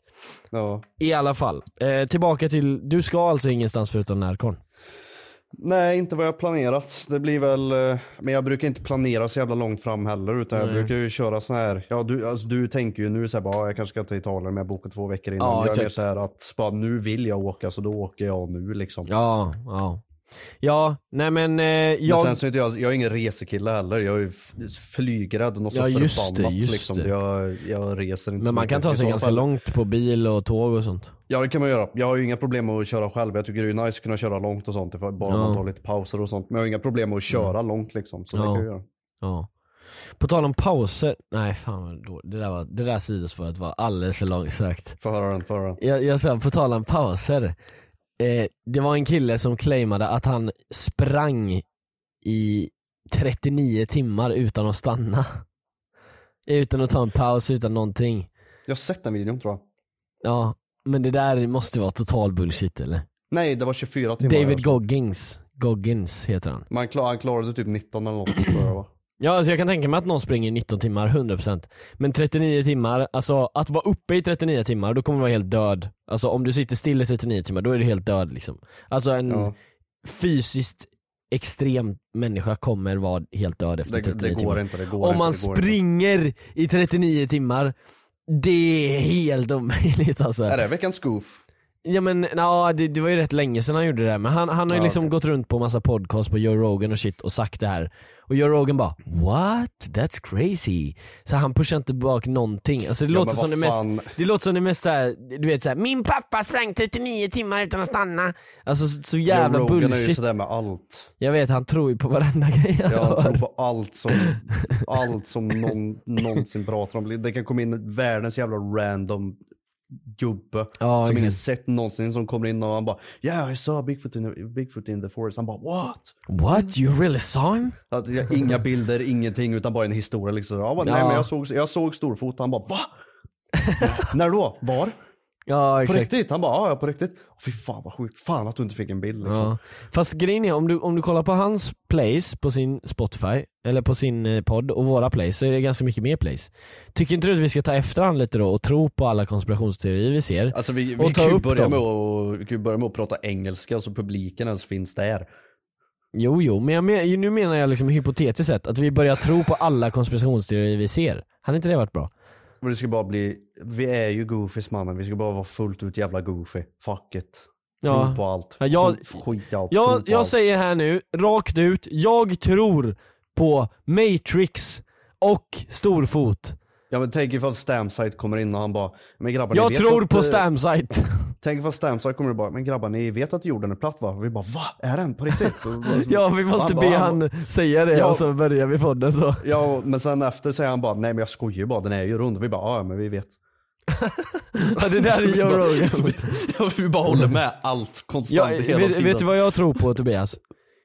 Speaker 4: han. Ja.
Speaker 1: I alla fall, eh, tillbaka till, du ska alltså ingenstans förutom Närcon?
Speaker 4: Nej inte vad jag planerat. Det blir väl, eh, men jag brukar inte planera så jävla långt fram heller utan jag
Speaker 1: Nej.
Speaker 4: brukar ju köra så här. Ja du, alltså, du tänker ju nu så här bara, "Ah, jag kanske ska till Italien men jag bokar två veckor innan.
Speaker 1: Ja,
Speaker 4: jag är mer
Speaker 1: exakt.
Speaker 4: så här att bara, nu vill jag åka så då åker jag nu liksom.
Speaker 1: Ja, ja Ja, nej men eh, jag...
Speaker 4: Men sen så är inte jag, jag är ingen resekille heller. Jag är ju f- flygrädd och så
Speaker 1: Ja, just det,
Speaker 4: förbannat
Speaker 1: just
Speaker 4: liksom.
Speaker 1: det.
Speaker 4: Jag, jag reser inte så
Speaker 1: men man
Speaker 4: mycket.
Speaker 1: kan ta
Speaker 4: I
Speaker 1: sig
Speaker 4: så
Speaker 1: ganska
Speaker 4: fall-
Speaker 1: långt på bil och tåg och sånt
Speaker 4: Ja det kan man göra. Jag har ju inga problem med att köra själv. Jag tycker det är nice att kunna köra långt och sånt. Bara
Speaker 1: Ja. Mm.
Speaker 4: man tar lite pauser och sånt. Men jag har inga problem med att köra långt liksom. Så
Speaker 1: Ja.
Speaker 4: det kan jag göra.
Speaker 1: Ja. På tal om pauser, nej fan vad dåligt. Det där, var, det där sidospåret var alldeles för långsökt.
Speaker 4: Få höra den, få höra den.
Speaker 1: Jag, jag sa på tal om pauser, eh, det var en kille som claimade att han sprang i 39 timmar utan att stanna. Utan att ta en paus, utan någonting.
Speaker 4: Jag har sett den videon tror jag.
Speaker 1: Ja, men det där måste vara total bullshit eller?
Speaker 4: Nej det var 24 timmar. alltså.
Speaker 1: David Goggins, Goggins heter han.
Speaker 4: Man klar, han klarade typ 19 eller något tror jag va?
Speaker 1: Ja, alltså jag kan tänka mig att någon springer 19 timmar, 100% Men 39 timmar, alltså att vara uppe i 39 timmar, då kommer du vara helt död Alltså om du sitter still i 39 timmar, då är du helt död liksom Alltså en
Speaker 4: Ja,
Speaker 1: fysiskt extrem människa kommer vara helt död efter
Speaker 4: det,
Speaker 1: 39
Speaker 4: det
Speaker 1: timmar
Speaker 4: går inte. Det går
Speaker 1: Om
Speaker 4: inte,
Speaker 1: man
Speaker 4: det går inte.
Speaker 1: springer i 39 timmar, det är helt omöjligt alltså
Speaker 4: Är det veckans goof?
Speaker 1: Ja men no, det, det var ju rätt länge sedan han gjorde det där, men han, han har ju
Speaker 4: Ja,
Speaker 1: liksom
Speaker 4: okej.
Speaker 1: gått runt på massa podcasts på Joe Rogan och shit och sagt det här. Och Joe Rogan bara what? That's crazy. Så han pushar inte bak någonting. Alltså det,
Speaker 4: Ja,
Speaker 1: låter,
Speaker 4: men
Speaker 1: som det,
Speaker 4: vad
Speaker 1: mest,
Speaker 4: fan.
Speaker 1: det låter som det mest såhär, du vet såhär min pappa sprang 39 timmar utan att stanna. Alltså så, så jävla
Speaker 4: Joe Rogan är ju
Speaker 1: bullshit.
Speaker 4: sådär med allt.
Speaker 1: Jag vet han tror ju på varenda grej han
Speaker 4: Jag
Speaker 1: hör.
Speaker 4: tror på allt som, allt som någon någonsin pratar om. Det kan komma in världens jävla random gubbe
Speaker 1: Ja,
Speaker 4: som ingen
Speaker 1: exakt.
Speaker 4: sett någonsin som kommer in och han bara yeah I saw Bigfoot in the, Bigfoot in the forest. Han bara what?
Speaker 1: What? You really saw him?
Speaker 4: Att, jag- inga bilder, ingenting utan bara en historia liksom. Jag bara, nej
Speaker 1: Ja.
Speaker 4: men jag såg, jag såg storfot. Han bara va? När då? Var?
Speaker 1: Ja
Speaker 4: På
Speaker 1: exakt.
Speaker 4: riktigt? Han bara ja, ja på riktigt. Fy fan vad sjukt. Fan att du inte fick en bild liksom.
Speaker 1: Ja. Fast grejen är, om du, om du kollar på hans plays på sin Spotify, eller på sin eh, podd och våra plays, så är det ganska mycket mer plays. Tycker inte du att vi ska ta efter han lite då och tro på alla konspirationsteorier vi ser?
Speaker 4: Alltså vi,
Speaker 1: Och
Speaker 4: vi,
Speaker 1: ta
Speaker 4: kan ju
Speaker 1: upp
Speaker 4: börja
Speaker 1: dem.
Speaker 4: med att, vi kan ju börja med att prata engelska så publiken ens finns där.
Speaker 1: Jo, jo, men jag men, nu menar jag liksom hypotetiskt sett att vi börjar tro på alla konspirationsteorier vi ser. Hade inte det varit bra?
Speaker 4: Och det ska bara bli, vi är ju goofies mannen, vi ska bara vara fullt ut jävla goofy. Fuck it.
Speaker 1: Ja.
Speaker 4: Tro på allt.
Speaker 1: Ja, jag-
Speaker 4: Tro- Skit i allt.
Speaker 1: Jag,
Speaker 4: Tro på
Speaker 1: jag
Speaker 4: allt.
Speaker 1: säger här nu, rakt ut, jag tror på Matrix och Storfot.
Speaker 4: Ja men tänk ifall Stamsite kommer in och han bara, men grabbar ni
Speaker 1: Jag
Speaker 4: vet
Speaker 1: tror
Speaker 4: att,
Speaker 1: på
Speaker 4: eh,
Speaker 1: Stamsite.
Speaker 4: Tänk ifall Stamsite kommer in och bara, men grabbar ni vet att jorden är platt va? Och vi bara, va? Är den? På riktigt? Så-
Speaker 1: Ja, vi måste
Speaker 4: Mm. bara-
Speaker 1: be han säga det
Speaker 4: Ja.
Speaker 1: och så börjar vi podden så.
Speaker 4: Ja, men sen efter säger han bara, nej men jag skojar ju bara, den är ju rund. Vi bara, ja men vi vet.
Speaker 1: Ja, det där är Joe Rogan.
Speaker 4: Ja, vi bara håller med allt
Speaker 1: Jag,
Speaker 4: konstant hela
Speaker 1: vet,
Speaker 4: tiden.
Speaker 1: vet du vad jag tror på Tobias?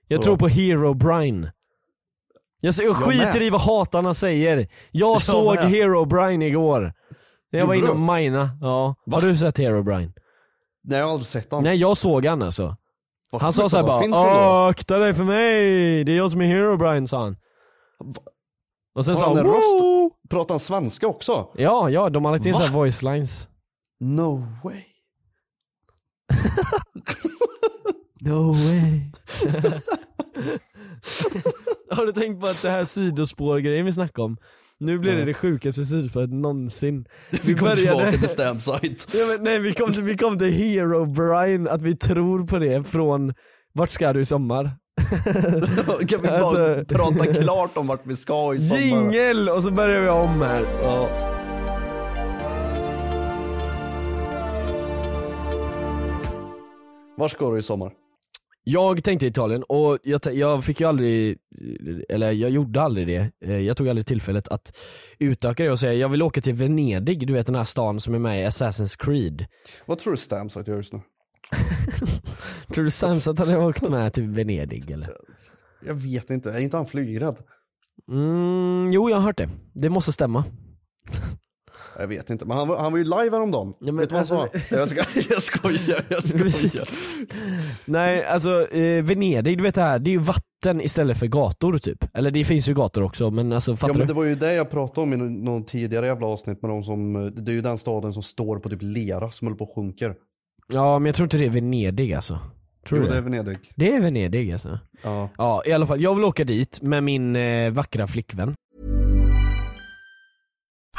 Speaker 1: Jag tror på Hero Brian. Jag, så- jag
Speaker 4: Jag
Speaker 1: skiter
Speaker 4: med.
Speaker 1: i vad hatarna säger. Jag, såg
Speaker 4: med.
Speaker 1: Hero Brian igår. När jag var inne
Speaker 4: Gjorde
Speaker 1: och
Speaker 4: du?
Speaker 1: mina. Ja. Har du sett Hero Brian?
Speaker 4: Nej jag har aldrig sett honom.
Speaker 1: Nej jag såg han alltså.
Speaker 4: Vad
Speaker 1: Han sa
Speaker 4: sjukt
Speaker 1: såhär
Speaker 4: att de finns
Speaker 1: bara "Ah."
Speaker 4: ändå.
Speaker 1: 'Åh, akta dig för mig, det är jag som är Hero Brian' sa han. Och sen
Speaker 4: Har
Speaker 1: sa
Speaker 4: han
Speaker 1: han
Speaker 4: en röst?
Speaker 1: 'Woo!'
Speaker 4: Pratar han svenska också?
Speaker 1: Ja, ja, de har lagt in
Speaker 4: Va?
Speaker 1: såhär voice lines.
Speaker 4: No way.
Speaker 1: No way. Har du tänkt på att det här sidospårgrejen vi snackade om, nu blir det det sjukaste sidoflödet någonsin.
Speaker 4: Vi kom tillbaka till Stamsite.
Speaker 1: ja, men, nej, vi, kom till, vi kom till Hero Brian, att vi tror på det från Vart ska du i sommar?
Speaker 4: kan vi bara
Speaker 1: Alltså-
Speaker 4: prata klart om vart vi ska i sommar?
Speaker 1: Jingel! Och så börjar vi om här. Ja.
Speaker 4: Vart ska du i sommar?
Speaker 1: Jag tänkte Italien och jag, t- jag fick ju aldrig, eller jag gjorde aldrig det. Eh, Jag tog aldrig tillfället att utöka det och säga jag vill åka till Venedig, du vet den här stan som är med i Assassin's Creed.
Speaker 4: Vad tror du Stamsite gör just nu?
Speaker 1: Tror du Sams att han har åkt med till Venedig eller?
Speaker 4: Jag vet inte, är inte han flygrädd?
Speaker 1: Mm, jo jag har hört det. Det måste stämma.
Speaker 4: Jag vet inte, men han var, han var ju live häromdagen.
Speaker 1: Ja, men
Speaker 4: vet du vad han sa?
Speaker 1: alltså-
Speaker 4: Jag, ska, jag skojar, jag skojar.
Speaker 1: Nej alltså eh, Venedig, du vet det här, det är ju vatten istället för gator typ. Eller det finns ju gator också men alltså fattar
Speaker 4: Ja men
Speaker 1: du?
Speaker 4: det var ju det jag pratade om i någon någon tidigare jävla avsnitt med de som, det är ju den staden som står på typ lera som håller på och sjunker.
Speaker 1: Ja men jag tror inte det är Venedig alltså. Tror
Speaker 4: Jo
Speaker 1: du
Speaker 4: det är
Speaker 1: det?
Speaker 4: Venedig.
Speaker 1: Det är Venedig alltså.
Speaker 4: Ja.
Speaker 1: Ja i alla fall, jag vill åka dit med min eh, vackra flickvän.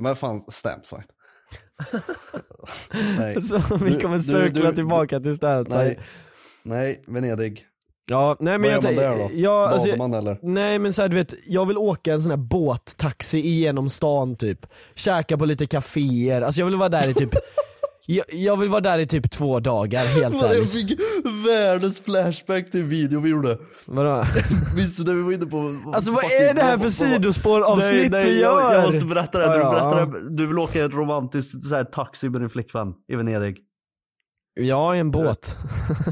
Speaker 4: Men fan, Stamsite. nej.
Speaker 1: Så vi kommer
Speaker 4: Du- du-
Speaker 1: cirkla
Speaker 4: du-
Speaker 1: tillbaka till Stanside.
Speaker 4: Nej. Nej, Venedig.
Speaker 1: Ja, nej men jag
Speaker 4: Vad gör man
Speaker 1: tänker-
Speaker 4: där då?
Speaker 1: Ja, alltså,
Speaker 4: Badar man eller?
Speaker 1: Nej men såhär du vet, jag vill åka en sån här båttaxi igenom stan typ. Käka på lite kaféer, alltså jag vill vara där i typ jag, jag vill vara där i typ två dagar helt
Speaker 4: Jag
Speaker 1: ärligt.
Speaker 4: fick världens flashback till en video vi gjorde.
Speaker 1: Vadå?
Speaker 4: Visst när vi var inne på...
Speaker 1: Alltså vad är det här för sidospåravsnitt vi gör?
Speaker 5: Jag, jag måste berätta det. här.
Speaker 1: Ja,
Speaker 5: Du,
Speaker 1: ja.
Speaker 5: berättar, det här. du vill åka i ett romantiskt så här, taxi med din flickvän i Venedig.
Speaker 1: Ja, i en båt.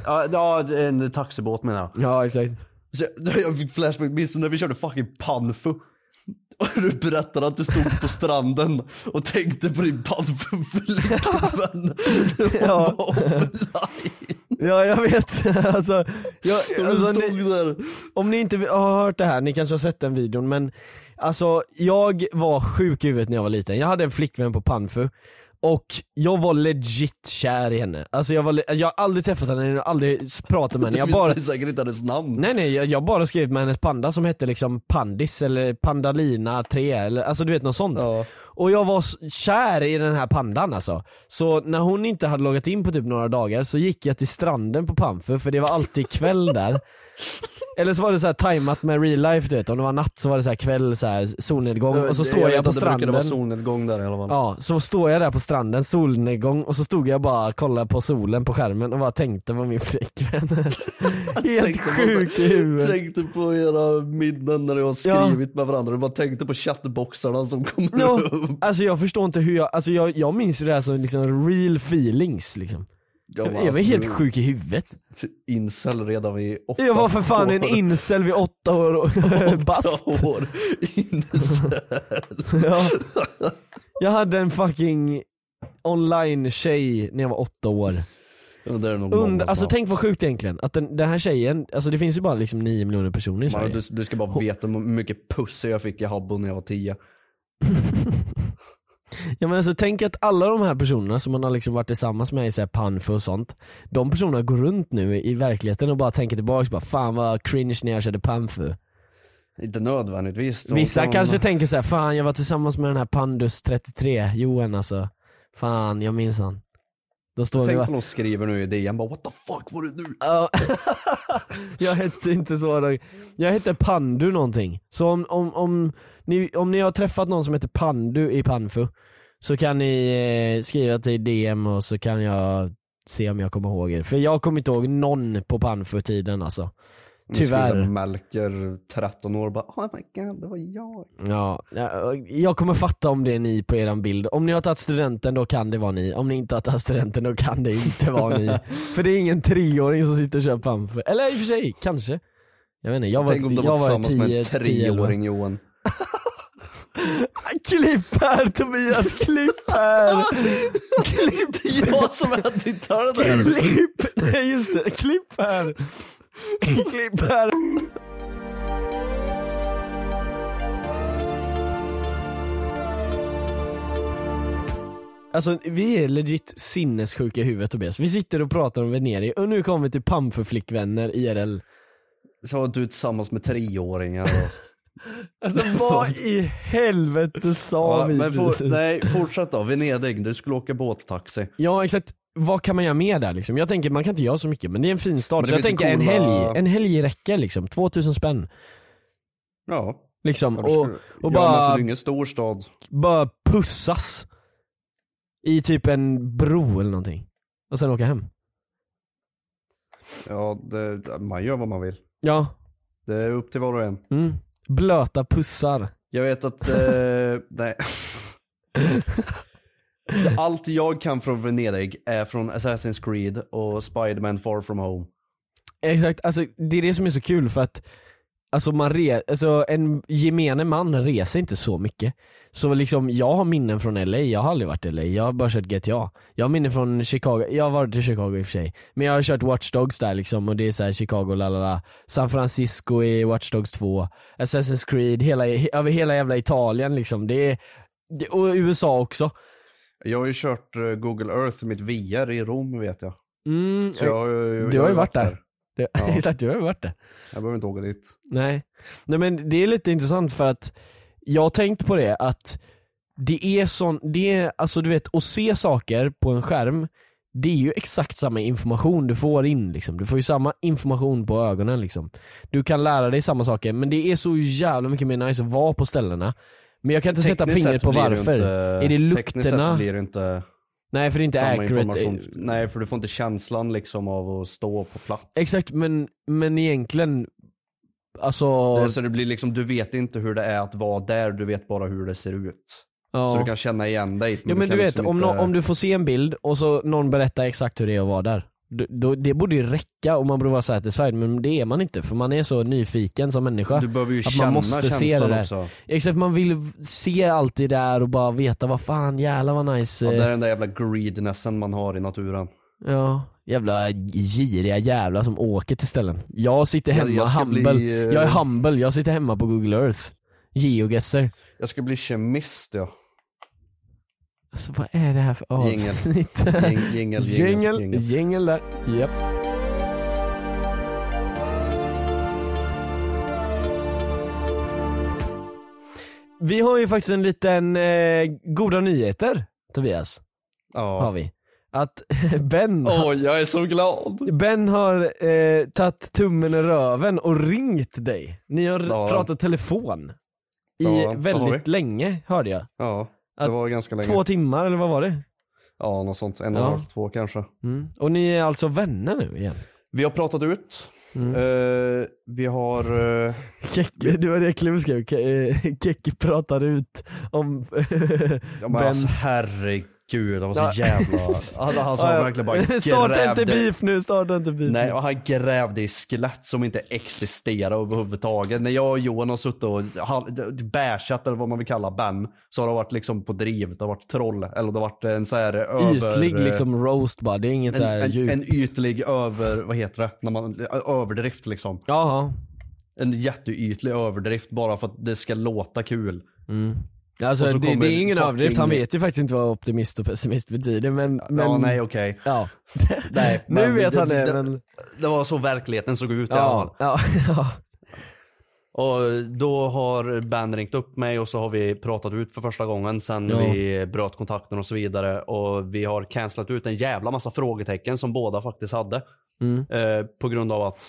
Speaker 5: Ja, ja en taxibåt menar jag.
Speaker 1: Ja exakt.
Speaker 4: Så jag- Jag fick flashback, minns du när vi körde fucking panfu? Och du berättade att du stod på stranden och tänkte på din panfu-flickvän.
Speaker 1: Ja.
Speaker 4: Ja. Offline.
Speaker 1: Ja jag vet, alltså, jag,
Speaker 4: Och du
Speaker 1: alltså
Speaker 4: stod
Speaker 1: ni,
Speaker 4: där.
Speaker 1: om ni inte har hört det här, ni kanske har sett den videon men Alltså jag var sjuk i huvudet när jag var liten, jag hade en flickvän på Panfu och jag var legit kär i henne, alltså jag, var, le- jag har aldrig träffat henne, jag har aldrig pratat med henne,
Speaker 4: Du
Speaker 1: jag bara
Speaker 4: visste säkert inte hennes namn.
Speaker 1: Nej nej, jag, jag bara skrev med hennes panda som hette liksom Pandis eller Pandalina 3 eller alltså du vet något sånt.
Speaker 4: Ja.
Speaker 1: Och jag var s- kär i den här pandan alltså. Så när hon inte hade loggat in på typ några dagar så gick jag till stranden på Pamfu för det var alltid kväll där. Eller så var det så här tajmat med real life du vet, om det var natt så var det så här kväll, så här solnedgång och så står jag,
Speaker 5: vet
Speaker 1: på
Speaker 5: att Det brukade
Speaker 1: stranden.
Speaker 5: vara solnedgång där i alla fall.
Speaker 1: Ja, så står jag där på stranden, solnedgång och så stod jag bara och kollade på solen på skärmen och bara tänkte på min flickvän. Helt
Speaker 4: Tänkte på så-
Speaker 1: sjuk i huvudet.
Speaker 4: Tänkte på era minnen när jag har skrivit med varandra. Du bara tänkte på chattboxarna som kommer
Speaker 1: Ja,
Speaker 4: upp.
Speaker 1: alltså jag förstår inte hur jag, alltså jag, jag minns det här som liksom real feelings liksom.
Speaker 4: Jag "Alltså,
Speaker 1: jag var
Speaker 4: var
Speaker 1: helt
Speaker 4: absolut
Speaker 1: sjuk i huvudet.
Speaker 4: Incel redan vid åtta
Speaker 1: Jag var för fan en
Speaker 4: år.
Speaker 1: incel vid åtta år och bast.
Speaker 4: Åtta år. Incel.
Speaker 1: Ja. Jag hade en fucking online-tjej när jag var åtta år.
Speaker 4: Ja, det är nog många
Speaker 1: Und,
Speaker 4: som
Speaker 1: alltså
Speaker 4: har.
Speaker 1: tänk vad sjukt egentligen, att den, den här tjejen, alltså det finns ju bara liksom 9 miljoner personer i
Speaker 4: Man,
Speaker 1: Sverige.
Speaker 4: du, du ska bara veta hur mycket pussar jag fick i Habbo när jag var tio.
Speaker 1: Ja men alltså tänk att alla de här personerna som man har liksom varit tillsammans med i så här panfu och sånt, de personerna går runt nu i verkligheten och bara tänker tillbaka bara fan vad cringe när jag körde panfu.
Speaker 4: Inte nödvändigtvis. De
Speaker 1: Vissa
Speaker 4: kan-
Speaker 1: kanske tänker så här, fan jag var tillsammans med den här Pandus 33, Johan alltså. Fan jag minns han. Då står vi
Speaker 4: Tänk
Speaker 1: bara,
Speaker 4: vad de skriver nu i DN bara what the fuck var det nu?
Speaker 1: Ja. jag hette inte så då. Jag hette Pandu någonting. Så om, om, om, ni, om ni har träffat någon som heter Pandu i Panfu så kan ni eh, skriva till DM och så kan jag se om jag kommer ihåg er. För jag kommer inte ihåg någon på Panfu-tiden alltså.
Speaker 4: De skriver så här,
Speaker 1: Tyvärr.
Speaker 4: Melker, 13 år, bara oh my god det var jag.
Speaker 1: Ja, jag kommer fatta om det är ni på eran bild. Om ni har tagit studenten då kan det vara ni. Om ni inte har tagit studenten då kan det inte vara ni. För det är ingen treåring som sitter och kör pamp. Eller i och för sig, kanske. Jag vet inte, jag var,
Speaker 4: Tänk om de var
Speaker 1: jag var
Speaker 4: tillsammans
Speaker 1: tio,
Speaker 4: med en
Speaker 1: tio eller vad.
Speaker 4: treåring Johan.
Speaker 1: Klipp här Tobias, klipp här!
Speaker 4: Det är jag som är tittare där.
Speaker 1: klipp! Nej just det, klipp här! klipp här! Alltså vi är legit sinnessjuka i huvudet Tobias. Vi sitter och pratar om Venedig och nu kommer vi till Pam för flickvänner IRL.
Speaker 4: Så var du tillsammans med treåringar och...
Speaker 1: Alltså vad i helvete sa
Speaker 4: Ja,
Speaker 1: vi?
Speaker 4: men for,
Speaker 1: precis?
Speaker 4: nej, fortsätt då. Venedig, du skulle åka båttaxi.
Speaker 1: Ja exakt, vad kan man göra mer där liksom? Jag tänker man kan inte göra så mycket men det är en fin start.
Speaker 4: Men det
Speaker 1: Så jag
Speaker 4: finns ju
Speaker 1: tänker en
Speaker 4: coola-
Speaker 1: helg, en helg räcker liksom. 2000 spänn.
Speaker 4: Ja.
Speaker 1: Liksom,
Speaker 4: ja, du
Speaker 1: och,
Speaker 4: skulle-
Speaker 1: och
Speaker 4: Ja, men alltså,
Speaker 1: bara,
Speaker 4: det är ingen stor stad.
Speaker 1: bara pussas i typ en bro eller någonting. Och sen åka hem.
Speaker 4: Ja, det, man gör vad man vill.
Speaker 1: Ja,
Speaker 4: Det är upp till var och en.
Speaker 1: mm. blöta pussar.
Speaker 4: Jag vet att, eh, nej. Det- Allt jag kan från Venedig är från Assassin's Creed och Spiderman Far From Home.
Speaker 1: Exakt, alltså det är det som är så kul för att Alltså, man re- alltså en gemene man reser inte så mycket. Så liksom, jag har minnen från LA, jag har aldrig varit i LA, jag har bara kört GTA. Jag har minnen från Chicago, jag har varit i Chicago i och för sig. Men jag har kört Watch Dogs där liksom och det är så här Chicago, la la la. San Francisco i Watch Dogs 2, Assassin's Creed, hela, he- över hela jävla Italien liksom. Det är, det, och USA också.
Speaker 4: Jag har ju kört eh, Google Earth i mitt VR i Rom vet jag.
Speaker 1: Mm,
Speaker 4: Så jag, har ju-
Speaker 1: Du
Speaker 4: jag
Speaker 1: har ju varit där. det,
Speaker 4: ja.
Speaker 1: Exakt, du har ju varit det.
Speaker 4: Jag behöver inte åka dit.
Speaker 1: Nej. Nej men det är lite intressant för att jag har tänkt på det att det är sån, det är, alltså du vet, att se saker på en skärm det är ju exakt samma information du får in liksom. Du får ju samma information på ögonen liksom. Du kan lära dig samma saker men det är så jävla mycket mer nice att vara på ställena. Men jag kan inte sätta
Speaker 4: Tekniskt
Speaker 1: fingret
Speaker 4: sett
Speaker 1: på
Speaker 4: blir det
Speaker 1: varför.
Speaker 4: inte-
Speaker 1: är det
Speaker 4: Tekniskt sett
Speaker 1: lukterna?
Speaker 4: blir det inte
Speaker 1: Nej för det är inte
Speaker 4: samma
Speaker 1: accurate. eh,
Speaker 4: information. Nej, för du får inte känslan liksom av att stå på plats.
Speaker 1: Exakt men, men egentligen, alltså...
Speaker 4: Det- Så det blir liksom, du vet inte hur det är att vara där, du vet bara hur det ser ut.
Speaker 1: ja.
Speaker 4: Så du kan känna igen dig.
Speaker 1: Ja men
Speaker 4: kan
Speaker 1: du vet,
Speaker 4: liksom
Speaker 1: om,
Speaker 4: inte-
Speaker 1: nå- om du får se en bild och så någon berättar exakt hur det är att vara där. Då, då, det borde ju räcka och man borde vara satisfied men det är man inte för man är så nyfiken som människa.
Speaker 4: Du behöver ju
Speaker 1: att man
Speaker 4: känna
Speaker 1: måste se
Speaker 4: känslan
Speaker 1: det där.
Speaker 4: också.
Speaker 1: Exakt, man vill v- se allt det där och bara veta vad fan jävlar vad nice.
Speaker 4: Ja,
Speaker 1: eh,
Speaker 4: det är den där jävla greednessen man har i naturen.
Speaker 1: ja, jävla giriga jävlar som åker till ställen. Jag sitter hemma,
Speaker 4: jag ska
Speaker 1: humble.
Speaker 4: bli, eh,
Speaker 1: Jag är humble, jag sitter hemma på google earth. Geogesser.
Speaker 4: Jag ska bli kemist ja.
Speaker 1: Alltså vad är det här för
Speaker 4: Jingel.
Speaker 1: avsnitt?
Speaker 4: Jing- Jingel, jingel,
Speaker 1: Jingel,
Speaker 4: jingel.
Speaker 1: jingel där. Japp. Vi har ju faktiskt en liten eh, goda nyheter Tobias, har
Speaker 4: Ja.
Speaker 1: vi. Att Ben,
Speaker 2: Åh, jag är så glad!
Speaker 1: ben har eh, tagit tummen i röven och ringt dig. Ni har
Speaker 4: Ja.
Speaker 1: pratat telefon i
Speaker 4: Ja, vad har
Speaker 1: väldigt länge hörde jag.
Speaker 4: ja. Det
Speaker 1: Att-
Speaker 4: var ganska länge.
Speaker 1: Två timmar eller vad var det?
Speaker 4: Ja, något sånt. En och
Speaker 1: Ja.
Speaker 4: en halv, två kanske.
Speaker 1: Mm. Och ni är alltså vänner nu igen?
Speaker 4: Vi har pratat ut.
Speaker 1: Mm.
Speaker 4: Eh, vi har... eh,
Speaker 1: Keke, det var det Clem skrev, Ke- eh, Keke pratar ut om
Speaker 4: ja, men
Speaker 1: Ben.
Speaker 4: alltså, herregud, han var så
Speaker 1: Ja.
Speaker 4: jävla... Han, han sa
Speaker 1: Ja, ja.
Speaker 4: verkligen bara
Speaker 1: Starta inte
Speaker 4: grävde-
Speaker 1: beef nu, starta inte beef
Speaker 4: Nej,
Speaker 1: nu.
Speaker 4: och han grävde i skelett som inte existerar överhuvudtaget. När jag och Johan har suttit och hal- bashat eller vad man vill kalla Ben, så har det varit liksom på driv. Det har varit troll, eller det har varit en så här över...
Speaker 1: Ytlig liksom roast bara, det är inget
Speaker 4: eh, En,
Speaker 1: såhär
Speaker 4: en,
Speaker 1: djup.
Speaker 4: en ytlig över, vad heter det, när man, överdrift liksom.
Speaker 1: Jaha.
Speaker 4: En jätteytlig överdrift bara för att det ska låta kul.
Speaker 1: Mm.
Speaker 4: Och
Speaker 1: Alltså
Speaker 4: så
Speaker 1: det, det
Speaker 4: kommer
Speaker 1: är ingen
Speaker 4: fucking-
Speaker 1: överdrift, han vet ju faktiskt inte vad optimist och pessimist betyder men... men
Speaker 4: Ja, nej okej.
Speaker 1: ja.
Speaker 4: Nej,
Speaker 1: nu
Speaker 4: men
Speaker 1: vet
Speaker 4: det-
Speaker 1: han det,
Speaker 4: det-
Speaker 1: men...
Speaker 4: Det var så verkligheten såg ut i alla fall.
Speaker 1: Ja, ja, ja.
Speaker 4: Och då har Ben ringt upp mig och så har vi pratat ut för första gången sen
Speaker 1: Ja.
Speaker 4: vi bröt kontakten och så vidare. Och vi har cancelat ut en jävla massa frågetecken som båda faktiskt hade.
Speaker 1: Mm.
Speaker 4: Eh, på grund av att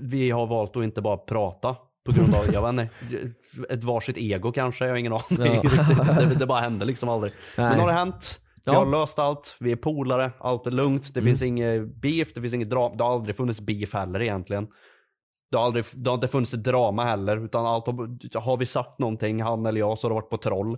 Speaker 4: vi har valt att inte bara prata. På grund av, jag vet inte, ett varsitt ego kanske. Jag har ingen aning.
Speaker 1: Ja.
Speaker 4: riktigt. det, det bara hände liksom aldrig. Men
Speaker 1: Nej.
Speaker 4: nu har det hänt. Vi
Speaker 1: Ja. Mm.
Speaker 4: har löst allt. Vi är polare. Allt är lugnt. Det finns inget beef. Det finns inget drama. Det har aldrig funnits beef heller egentligen. Det har, aldrig, det har inte funnits ett drama heller. Utan allt har, har vi sagt någonting, han eller jag, så har det varit på troll.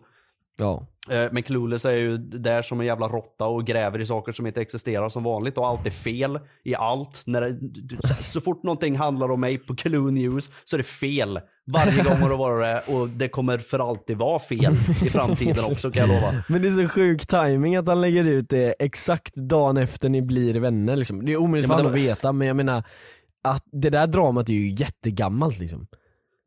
Speaker 1: ja.
Speaker 4: Eh, Men Clueless är ju där som en jävla råtta och gräver i saker som inte existerar som vanligt och allt är fel i allt. När det, d- d- så- så fort någonting handlar om mig på Clue News så är det fel. Varje gång har det varit det och det kommer för alltid vara fel i framtiden också kan jag lova.
Speaker 1: Men det är så sjuk timing att han lägger ut det exakt dagen efter ni blir vänner liksom. Det är omöjligt
Speaker 4: Ja,
Speaker 1: för
Speaker 4: men
Speaker 1: honom
Speaker 4: det
Speaker 1: att veta men jag menar att det där dramat är ju jättegammalt liksom.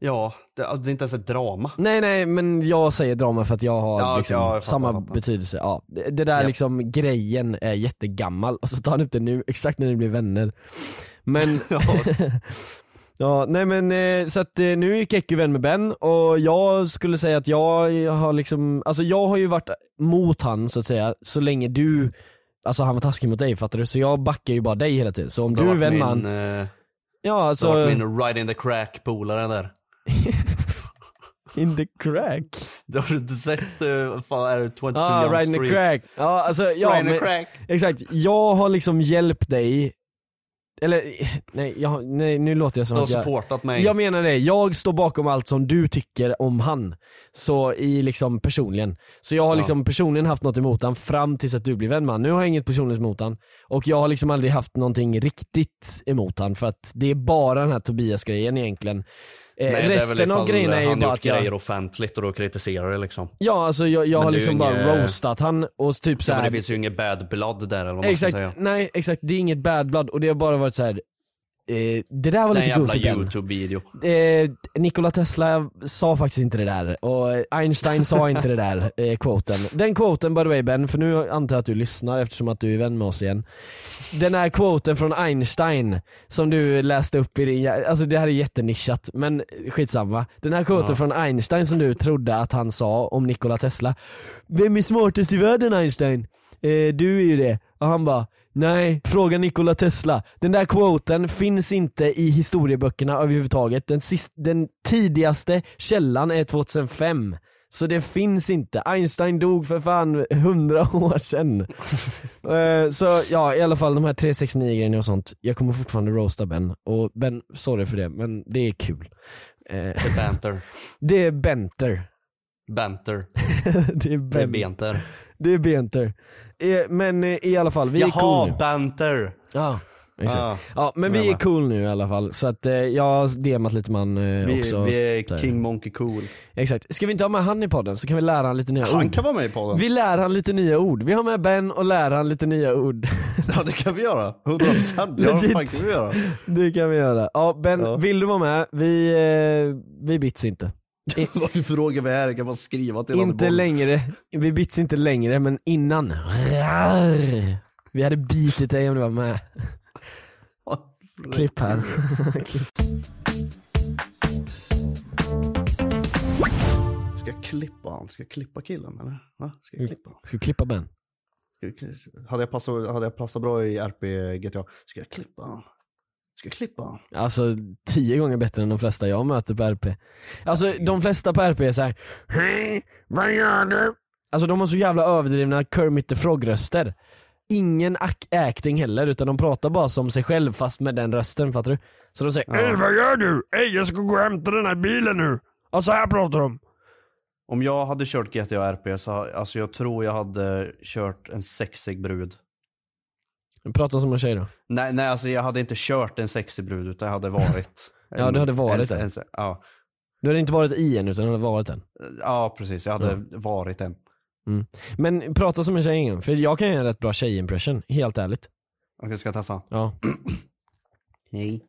Speaker 4: Ja, det, det är inte ens ett drama.
Speaker 1: Nej nej men jag säger drama för att jag har
Speaker 4: Ja,
Speaker 1: liksom
Speaker 4: okej, ja, jag fattar,
Speaker 1: samma
Speaker 4: jag fattar.
Speaker 1: betydelse. Ja, det, det där
Speaker 4: Ja.
Speaker 1: liksom grejen är jättegammal och så tar han upp det nu exakt när ni blir vänner. Men
Speaker 4: Ja,
Speaker 1: Ja, nej men eh, så att eh, nu är Keku vän med Ben och jag skulle säga att jag har liksom, alltså jag har ju varit mot han så att säga så länge du, alltså han var taskig mot dig fattar du? Så jag backar ju bara dig hela tiden. Så om
Speaker 4: det
Speaker 1: du
Speaker 4: har
Speaker 1: är
Speaker 4: varit
Speaker 1: vän
Speaker 4: min,
Speaker 1: med han,
Speaker 4: eh,
Speaker 1: ja
Speaker 4: Det har
Speaker 1: alltså,
Speaker 4: varit min ride in the crack polare där.
Speaker 1: in the crack.
Speaker 4: Det har du inte sett, uh, fan, är det 22
Speaker 1: Ja,
Speaker 4: Young
Speaker 1: ah, in
Speaker 4: Street?
Speaker 1: the crack. Ja, alltså ja,
Speaker 4: ride in
Speaker 1: men,
Speaker 4: the crack.
Speaker 1: exakt. Jag har liksom hjälpt dig, eller nej, jag, nej nu låter jag som
Speaker 4: Du har
Speaker 1: att jag
Speaker 4: supportat mig.
Speaker 1: Jag menar det, jag står bakom allt som du tycker om han. Så i liksom personligen. Så jag har
Speaker 4: Ja.
Speaker 1: liksom personligen haft något emot han fram tills att du blir vän med han. Nu har jag inget personligt emot han. Och jag har liksom aldrig haft någonting riktigt emot han för att det är bara den här Tobias-grejen egentligen. Eh,
Speaker 4: Nej, det är väl
Speaker 1: resten av
Speaker 4: ifall
Speaker 1: grejerna är ju
Speaker 4: han
Speaker 1: bara
Speaker 4: gjort
Speaker 1: att jag,
Speaker 4: grejer offentligt och då kritiserar det liksom.
Speaker 1: Ja alltså jag, jag
Speaker 4: Men
Speaker 1: har
Speaker 4: det är ju
Speaker 1: liksom bara
Speaker 4: inget-
Speaker 1: roastat han och typ
Speaker 4: Ja, men
Speaker 1: såhär
Speaker 4: det finns ju inget bad blood där eller vad man
Speaker 1: Exakt,
Speaker 4: ska säga.
Speaker 1: nej exakt det är inget bad blood och det har bara varit så här. Eh, det där var
Speaker 4: Den
Speaker 1: lite
Speaker 4: jävla
Speaker 1: goofy Ben.
Speaker 4: youtube-video.
Speaker 1: eh, Nikola Tesla sa faktiskt inte det där och Einstein sa inte det där eh, quoten. Den quoten by the way Ben, för nu antar jag att du lyssnar eftersom att du är vän med oss igen. Den här quoten från Einstein som du läste upp i din, jä- alltså det här är jättenischat men skitsamma. Den här quoten från Einstein som du trodde att han sa om Nikola Tesla. Vem är smartast i världen Einstein? eh, du är ju det. Och han bara, nej, fråga Nikola Tesla. Den där quoten finns inte i historieböckerna överhuvudtaget. Den, sist, den tidigaste källan är 2005. Så det finns inte. Einstein dog för fan 100 år sedan. Eh, så ja, i alla fall de här 369 grejerna och sånt. Jag kommer fortfarande roasta Ben. Och Ben, sorry för det, men det är kul. Eh,
Speaker 4: Banter.
Speaker 1: det är benter.
Speaker 4: Banter.
Speaker 1: det är
Speaker 4: Det är
Speaker 1: ben.
Speaker 4: benter.
Speaker 1: Det är benter. Eh, men eh, i alla fall, vi är
Speaker 4: Jaha,
Speaker 1: cool nu.
Speaker 4: banter.
Speaker 1: Ja, exakt.
Speaker 4: Ah,
Speaker 1: Ja, men vi är cool nu i alla fall. Så att eh, jag har DMat lite man eh,
Speaker 4: vi,
Speaker 1: också.
Speaker 4: vi
Speaker 1: Så
Speaker 4: är
Speaker 1: där.
Speaker 4: King Monkey Cool.
Speaker 1: Exakt. Ska vi inte ha med han i podden så kan vi lära han lite nya
Speaker 4: Han
Speaker 1: ord?
Speaker 4: kan vara med i podden.
Speaker 1: oh. Vi lär han lite nya ord. Vi har med Ben och lär han lite nya ord.
Speaker 4: Ja det kan vi göra. 100% procent. Ja
Speaker 1: Legit.
Speaker 4: det kan vi göra.
Speaker 1: Det kan vi göra. Ja, Ben,
Speaker 4: Ja.
Speaker 1: vill du vara med? Vi, eh, vi bits inte.
Speaker 4: Varför frågar vi här? Jag kan bara skriva till honom.
Speaker 1: Inte längre. Vi bits inte längre, men innan. Rar. Vi hade bitit dig om du var med. Klipp här.
Speaker 4: Ska jag klippa han? Ska jag klippa killen eller? Va? Ska
Speaker 1: Mm.
Speaker 4: jag klippa?
Speaker 1: Ska vi klippa Ben?
Speaker 4: Ska jag kli- Hade jag passat, hade jag passat bra i RP GTA? Ska jag klippa han? Ska jag klippa han?
Speaker 1: Alltså tio gånger bättre än de flesta jag möter på RP. Alltså de flesta på RP är såhär Hej, vad gör du? Alltså de har så jävla överdrivna Kermit the Frog röster. Ingen ac- acting heller utan de pratar bara som sig själv fast med den rösten fattar du? Så de säger Hej vad gör du? Hej jag ska gå och hämta den här bilen nu. Och så här pratar de.
Speaker 4: Om jag hade kört GTA RP så alltså jag tror jag hade kört en sexig brud.
Speaker 1: Pratar som en tjej då.
Speaker 4: Nej, nej alltså jag hade inte kört en sexig brud utan jag hade varit.
Speaker 1: Ja, du hade varit
Speaker 4: en,
Speaker 1: det.
Speaker 4: en, se- ja.
Speaker 1: Du hade inte varit i en utan du hade varit en.
Speaker 4: ja precis, jag hade varit en.
Speaker 1: Men prata som en tjej igen, för jag kan göra en rätt bra tjejimpression, helt ärligt.
Speaker 4: Okej ska jag testa?
Speaker 1: Ja.
Speaker 4: Hej.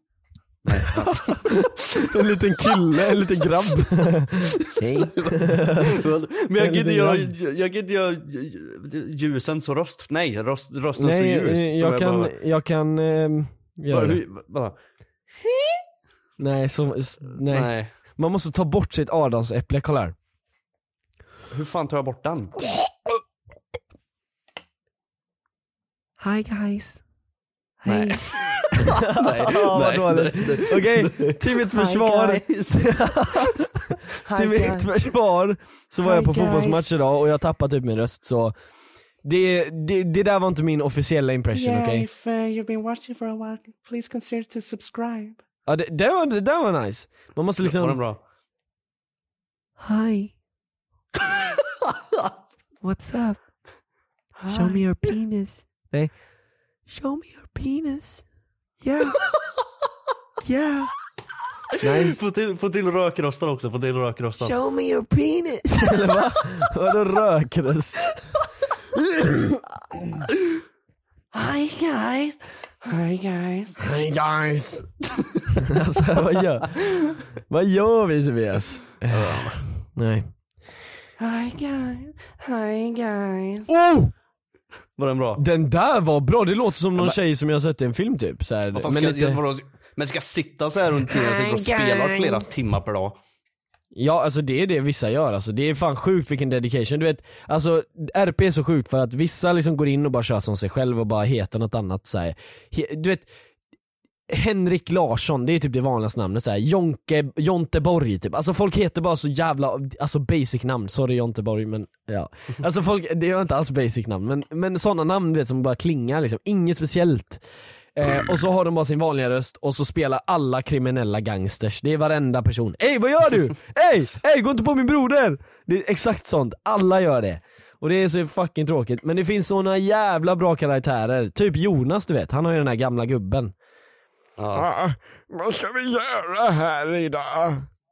Speaker 1: En liten kille, en liten grabb. Hej.
Speaker 4: Men jag kan inte
Speaker 1: liten
Speaker 4: göra,
Speaker 1: grabb.
Speaker 4: jag, jag kan inte göra ljusen så röst, nej röst, rösten så
Speaker 1: Nej,
Speaker 4: ljus.
Speaker 1: eh,
Speaker 4: så
Speaker 1: jag, kan,
Speaker 4: bara-
Speaker 1: jag kan ehm, göra
Speaker 4: Bara,
Speaker 1: det.
Speaker 4: hur, bara,
Speaker 1: Nej, så, s- nej.
Speaker 4: nej.
Speaker 1: Man måste ta bort sitt adamsäpple, kolla här.
Speaker 4: Hur fan tar jag bort den?
Speaker 1: Hi guys.
Speaker 4: Nej. nej,
Speaker 1: Ja, vad dåligt. Okej, till mitt försvar, till mitt försvar så var jag på fotbollsmatch idag och jag tappade typ min röst så det, det, det där var inte min officiella impression okej?
Speaker 3: if uh, you've been watching for a while, please consider to subscribe.
Speaker 1: Ja, det, det, var, det där var nice. Man måste
Speaker 4: Var den
Speaker 1: liksom,
Speaker 4: bra?
Speaker 6: Hi. What's up? Show me your penis.
Speaker 1: Hey.
Speaker 6: Show me your penis. Yeah. yeah.
Speaker 4: Få till, få till rökrösten också, få till rökrösten.
Speaker 6: Show me your penis.
Speaker 1: vadå rökröst?
Speaker 3: Hi guys. Hi guys.
Speaker 1: Hey guys! alltså vad gör, vad gör vi Tobias? Eh, Nej.
Speaker 3: Hi guys. Hi guys.
Speaker 1: Oh!
Speaker 4: Var den bra?
Speaker 1: Den där var bra, det låter som någon tjej som jag har sett i en film typ. Så här,
Speaker 4: Vad fan
Speaker 1: men
Speaker 4: ska
Speaker 1: lite-
Speaker 4: jag, vadå, men ska jag sitta så här runt tiden sitter och spelar flera timmar per dag?
Speaker 1: Ja alltså det är det vissa gör alltså, det är fan sjukt vilken dedication. Du vet, alltså RP är så sjukt för att vissa liksom går in och bara kör som sig själv och bara heter något annat så här. He, Du vet, Henrik Larsson, det är typ det vanligaste namnet såhär, Jonke, Jonteborg typ. Alltså folk heter bara så jävla, alltså basic namn, sorry Jonteborg men ja. Alltså folk, det är inte alls basic namn men, men sådana namn du vet som bara klingar liksom, inget speciellt. Eh, och så har de bara sin vanliga röst och så spelar alla kriminella gangsters, det är varenda person. Ey vad gör du? Ey, ey gå inte på min broder! Det är exakt sånt, alla gör det. Och det är så fucking tråkigt, men det finns såna jävla bra karaktärer, typ Jonas du vet, han har ju den här gamla gubben. Ah, vad ska vi göra här idag?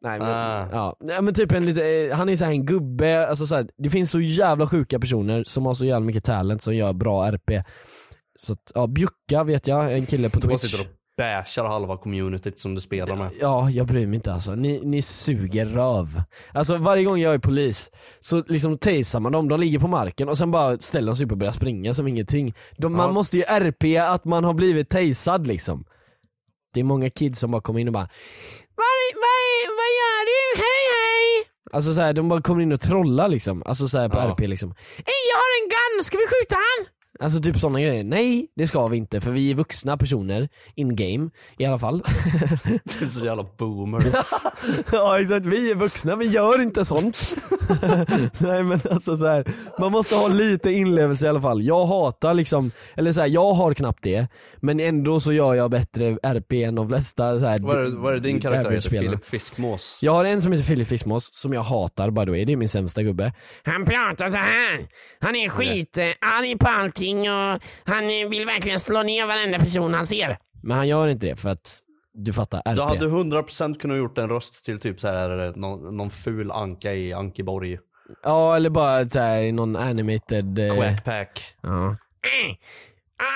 Speaker 1: Nej men,
Speaker 4: Ah.
Speaker 1: ja. Nej, men typ en lite, eh, han är såhär en gubbe, alltså så här, det finns så jävla sjuka personer som har så jävla mycket talent som gör bra RP. Så att, ja, Bjucka vet jag, en kille på
Speaker 4: Du bara
Speaker 1: Twitch.
Speaker 4: sitter och bashar halva communityt som du spelar med.
Speaker 1: Ja, jag bryr mig inte alltså. Ni, ni suger röv. Alltså varje gång jag är polis så liksom tasar man dem, de ligger på marken och sen bara ställer de sig upp och börjar springa som ingenting. De, Man
Speaker 4: Ja.
Speaker 1: måste ju RP att man har blivit tasad liksom. Det är många kids som bara kommer in och bara Vad, vad, vad gör du? Hej hej! Alltså såhär, de bara kommer in och trollar liksom. Alltså såhär på
Speaker 4: Ja.
Speaker 1: RP liksom. Hej jag har en gun han? Ska vi skjuta han? Alltså typ sådana grejer. Nej, det ska vi inte för vi är vuxna personer in game i alla fall.
Speaker 4: Du är så jävla boomer.
Speaker 1: ja exakt, vi är vuxna, vi gör inte sånt. Nej men alltså så här, man måste ha lite inlevelse i alla fall. Jag hatar liksom, eller så här, jag har knappt det, men ändå så gör jag bättre RP än de flesta så här,
Speaker 4: Vad är, vad är din karaktär heter?
Speaker 1: RPG-spelarna.
Speaker 4: Filip Fiskmås?
Speaker 1: Jag har en som heter Filip Fiskmås, som jag hatar by the way, det är min sämsta gubbe. Han pratar så här. han är skit, eh, arg på allting och han eh, vill verkligen slå ner varenda person han ser. Men han gör inte det för att, du fattar, RP.
Speaker 4: Du hade 100% kunnat gjort en röst till typ så här, någon, någon ful anka i Ankeborg.
Speaker 1: Ja eller bara så här, i någon animated... eh,
Speaker 4: Quackpack.
Speaker 1: Ja. Eh,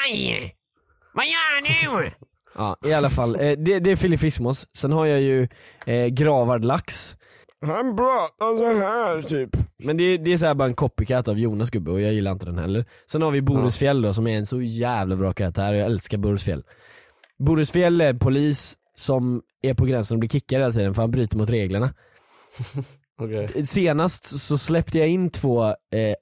Speaker 1: Aj! Vad gör du? ja, i alla fall. Eh, det, det är Filip Fiskmås. Sen har jag ju eh, Gravad Lax. Han pratar så här typ. Men det, det är så här bara en copycat av Jonas gubbe och jag gillar inte den heller. Sen har vi Boris Fjell då som är en så jävla bra karaktär och jag älskar Boris Fjell. Boris Fjell är en polis som är på gränsen att bli kickad hela tiden för han bryter mot reglerna.
Speaker 4: Okej.
Speaker 1: Eh, Senast så släppte jag in två eh,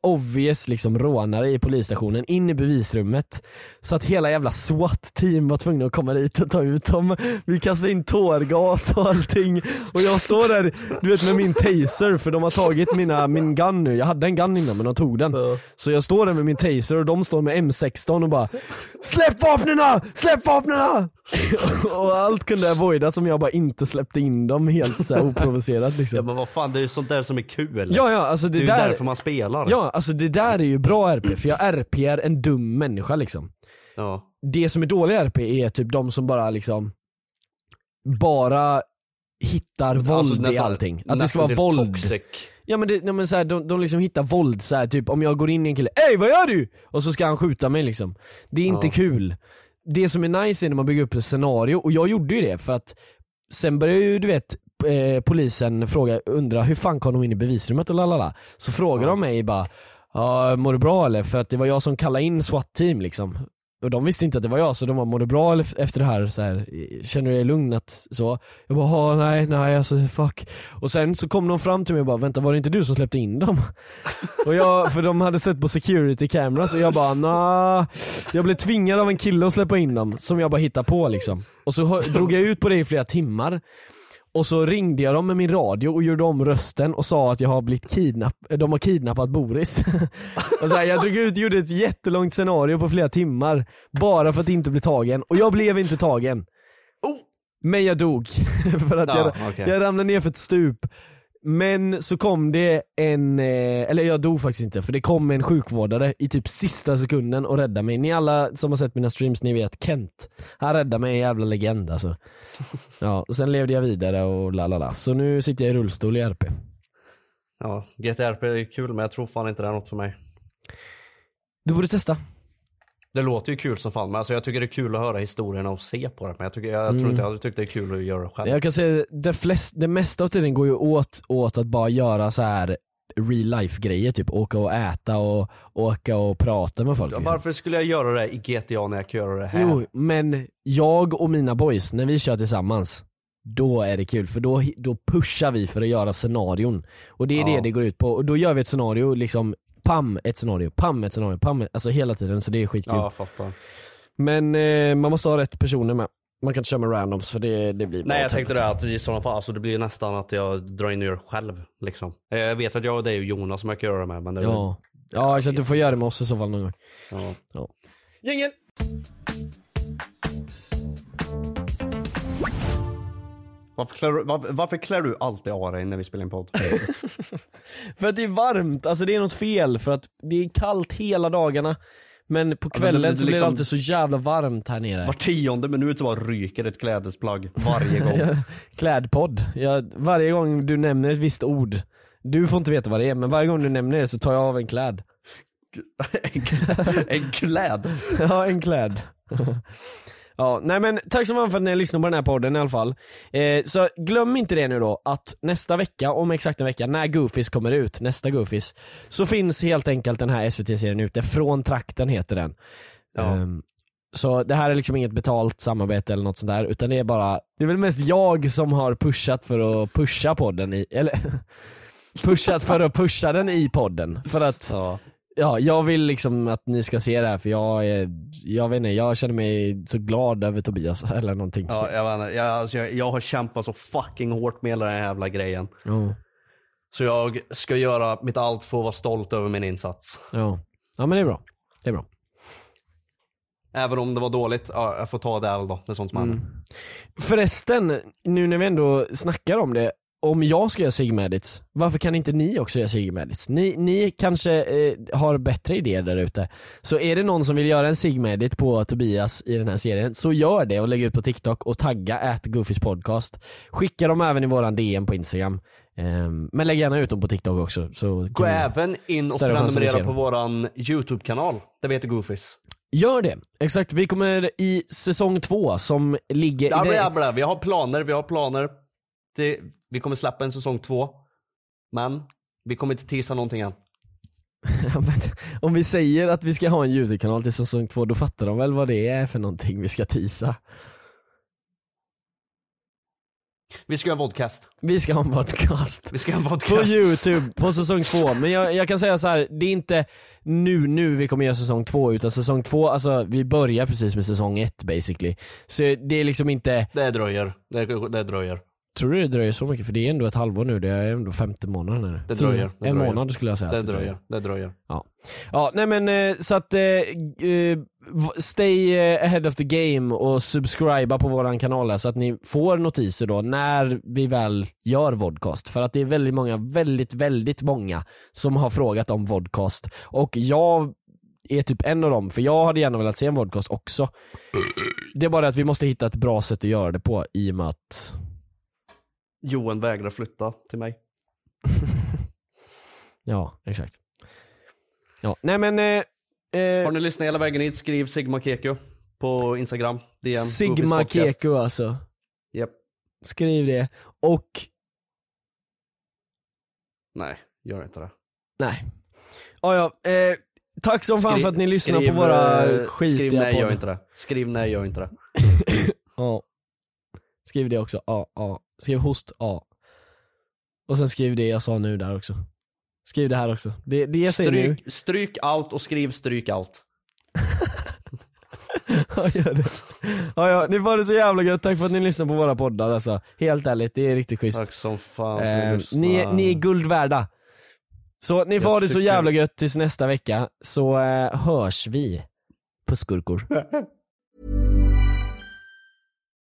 Speaker 1: obvious liksom rånare i polisstationen in i bevisrummet. Så att hela jävla SWAT-team var tvungna att komma dit och ta ut dem. Vi kastade in tårgas och allting. Och jag står där, du vet med min taser för de har tagit mina, min gun nu. Jag hade en gun innan men de tog den. Så jag står där med min taser och de står med M16 och bara Släpp vapnena! Släpp vapnena! och allt kunde avoidas som jag bara inte släppte in dem helt så här oprovocerat liksom.
Speaker 4: Ja men vad fan, det är ju sånt där som är kul.
Speaker 1: Ja, ja, alltså det,
Speaker 4: det är ju
Speaker 1: där,
Speaker 4: därför man spelar.
Speaker 1: ja, alltså det där är ju bra RP, för jag RPar en dum människa liksom.
Speaker 4: Ja.
Speaker 1: Det som är dålig RP är typ de som bara liksom, bara hittar våld i
Speaker 4: Alltså, nästan-
Speaker 1: allting. Att det ska
Speaker 4: nästan
Speaker 1: vara
Speaker 4: till
Speaker 1: våld.
Speaker 4: Toxic.
Speaker 1: Ja men, det, nej, men så här, de, de liksom hittar våld så här, typ om jag går in i en kille, Ey vad gör du? Och så ska han skjuta mig liksom. Det är inte
Speaker 4: Ja.
Speaker 1: kul. Det som är nice är när man bygger upp ett scenario, och jag gjorde ju det för att sen började ju du vet eh, polisen fråga, undra hur fan kom de in i bevisrummet och lalala. Så frågar de mig bara, ja mår du bra eller? För att det var jag som kallade in SWAT-team liksom. Och de visste inte att det var jag så de var mår du bra eller f- efter det här? Så här känner du dig lugn? Att, så. Jag bara, "Ja, nej, nej alltså fuck. Och sen så kom de fram till mig och bara, vänta var det inte du som släppte in dem? och jag, för de hade sett på security cameras och jag bara, nah. Jag blev tvingad av en kille att släppa in dem, som jag bara hittade på liksom. Och så hö- drog jag ut på det i flera timmar. Och så ringde jag dem med min radio och gjorde om rösten och sa att jag har blivit kidnapp- de har kidnappat Boris. och så här, jag drog ut och gjorde ett jättelångt scenario på flera timmar, bara för att inte bli tagen. Och jag blev inte tagen. Men jag dog. för att
Speaker 4: Oh! Ja,
Speaker 1: jag,
Speaker 4: okej.
Speaker 1: jag ramlade ner för ett stup. Men så kom det en, eh, eller jag dog faktiskt inte, för det kom en sjukvårdare i typ sista sekunden och räddade mig. Ni alla som har sett mina streams, ni vet Kent. Han räddade mig, en jävla legend alltså. Ja, och sen levde jag vidare och la la la. Så nu sitter jag i rullstol i RP.
Speaker 4: Ja, GTRP är kul men jag tror fan inte det är något för mig.
Speaker 1: Du borde testa.
Speaker 4: Det låter ju kul som fan men alltså jag tycker det är kul att höra historierna och se på det. Men jag, tycker, jag
Speaker 1: Mm.
Speaker 4: tror inte jag hade tyckt det är kul att göra det själv.
Speaker 1: Jag kan säga det, flest, det mesta av tiden går ju åt, åt att bara göra så här real life grejer typ. Åka och äta och åka och prata med folk.
Speaker 4: Ja,
Speaker 1: liksom.
Speaker 4: Varför skulle jag göra det i GTA när jag kan göra det här?
Speaker 1: Jo, men jag och mina boys, när vi kör tillsammans, då är det kul för då, då pushar vi för att göra scenarion. Och det är det
Speaker 4: Ja.
Speaker 1: det går ut på. Och då gör vi ett scenario, liksom pam, ett scenario, pam, ett scenario, pam, ett- alltså hela tiden så det är skitkul.
Speaker 4: ja, jag fattar.
Speaker 1: Men eh, man måste ha rätt personer med. Man kan inte köra med randoms för det, det blir bara
Speaker 4: Nej jag
Speaker 1: tömt.
Speaker 4: tänkte det att i sådana fall, alltså det blir nästan att jag drar in och gör det själv. Liksom. Eh, Jag vet att jag och dig och Jonas som jag kan göra det med men det är
Speaker 1: Ja. Ja, så att du får göra det med oss i så fall någon gång.
Speaker 4: ja.
Speaker 1: Gängen!
Speaker 4: Varför, klär, du- var, varför klär du alltid av dig när vi spelar in podd?
Speaker 1: För att det är varmt, alltså det är något fel för att det är kallt hela dagarna. Men på
Speaker 4: men det-
Speaker 1: kvällen
Speaker 4: det- det
Speaker 1: så blir det
Speaker 4: liksom-
Speaker 1: alltid så jävla varmt här nere.
Speaker 4: Var tionde minut så bara ryker ett klädesplagg varje gång.
Speaker 1: Klädpodd. Jag, varje gång du nämner ett visst ord, du får inte veta vad det är, men varje gång du nämner det så tar jag av en kläd.
Speaker 4: en, kläd, en kläd.
Speaker 1: Ja, en kläd. Ja, nej men tack så mycket för att ni lyssnar på den här podden i alla fall. Eh, så glöm inte det nu då, att nästa vecka, om exakt en vecka, när Goofies kommer ut, nästa Goofies, så finns helt enkelt den här SVT-serien ute, Från trakten heter den.
Speaker 4: Ja.
Speaker 1: Ehm, så det här är liksom inget betalt samarbete eller något sånt där, utan det är bara, det är väl mest jag som har pushat för att pusha podden i, eller pushat för att pusha den i podden. För att
Speaker 4: Ja.
Speaker 1: ja, jag vill liksom att ni ska se det här för jag är, jag vet inte, jag känner mig så glad över Tobias eller någonting.
Speaker 4: Ja, jag, vet inte. jag, alltså, jag, jag har kämpat så fucking hårt med hela den här jävla grejen.
Speaker 1: Ja.
Speaker 4: Så jag ska göra mitt allt för att vara stolt över min insats.
Speaker 1: Ja. ja men det är bra. Det är bra.
Speaker 4: Även om det var dåligt, ja, jag får ta det all då. Det är sånt man
Speaker 1: Mm. Förresten, nu när vi ändå snackar om det, om jag ska göra sigmadits, varför kan inte ni också göra sigmadits? Ni, ni kanske eh, har bättre idéer där ute. Så är det någon som vill göra en sigmadit på Tobias i den här serien, så gör det och lägg ut på TikTok och tagga at podcast. Skicka dem även i våran DM på Instagram. Ehm, men lägg gärna ut dem på TikTok också. Så
Speaker 4: Gå
Speaker 1: kan ni-
Speaker 4: även in och
Speaker 1: Mm. Större chans att vi ser
Speaker 4: prenumerera
Speaker 1: dem.
Speaker 4: på våran YouTube-kanal. Det heter Goofies.
Speaker 1: Gör det! Exakt, vi kommer i säsong två som ligger i
Speaker 4: Abla,
Speaker 1: det-
Speaker 4: abla, vi har planer, vi har planer. Det, vi kommer släppa en säsong två. Men vi kommer inte tisa någonting än.
Speaker 1: Ja, men om vi säger att vi ska ha en YouTube-kanal till säsong två, då fattar de väl vad det är för någonting vi ska tisa.
Speaker 4: Vi ska göra en vodcast.
Speaker 1: Vi ska ha en podcast.
Speaker 4: Vi ska göra en
Speaker 1: På
Speaker 4: vodcast.
Speaker 1: YouTube, på säsong två. Men jag, jag kan säga så här, det är inte nu, nu vi kommer göra säsong två, utan säsong två, alltså vi börjar precis med säsong ett basically. Så det är liksom inte,
Speaker 4: Det dröjer. Det, det dröjer.
Speaker 1: tror du det dröjer så mycket? För det är ändå ett halvår nu, det är ändå femte månaden nu.
Speaker 4: Det dröjer,
Speaker 1: Fyra.
Speaker 4: det
Speaker 1: en
Speaker 4: dröjer.
Speaker 1: månad skulle jag säga.
Speaker 4: Det
Speaker 1: att
Speaker 4: dröjer. Det dröjer.
Speaker 1: Ja. ja, nej men eh, så att eh, eh, v- stay eh, ahead of the game och subscriba på våran kanal här så att ni får notiser då när vi väl gör vodcast. För att det är väldigt många, väldigt, väldigt många som har frågat om vodcast och jag är typ en av dem, för jag hade gärna velat se en vodcast också. Det är bara att vi måste hitta ett bra sätt att göra det på i och med att
Speaker 4: Johan vägrar flytta till mig.
Speaker 1: Ja, exakt. Ja, nej men eh, eh,
Speaker 4: Har ni lyssnat hela vägen hit, skriv Sigma Keku på Instagram. DM,
Speaker 1: Sigma
Speaker 4: Goofys podcast.
Speaker 1: Keku alltså.
Speaker 4: Japp.
Speaker 1: Skriv det. Och,
Speaker 4: Nej, gör inte det.
Speaker 1: nej. Ja, ja. Eh, tack som fan för att ni lyssnar
Speaker 4: skriv,
Speaker 1: på våra
Speaker 4: eh,
Speaker 1: skitiga
Speaker 4: Skriv nej,
Speaker 1: poddar.
Speaker 4: gör inte det. Skriv nej, gör inte det.
Speaker 1: Ja. Skriv det också. Ja, ja. Skriv host. Ja. Och sen skriv det jag sa nu där också. Skriv det här också. Det, det jag säger nu.
Speaker 4: Stryk, stryk allt och skriv stryk allt.
Speaker 1: Ja, gör det. Ja, ja. Ni får det så jävla gött. Tack för att ni lyssnar på våra poddar alltså. Helt ärligt, det är riktigt schysst.
Speaker 4: Tack som fan för att
Speaker 1: Eh,
Speaker 4: lyssna.
Speaker 1: ni, är- ni är guld värda. Så ni får ha det så
Speaker 4: tycker-
Speaker 1: jävla gött tills nästa vecka, så eh, hörs vi. Puss gurkor.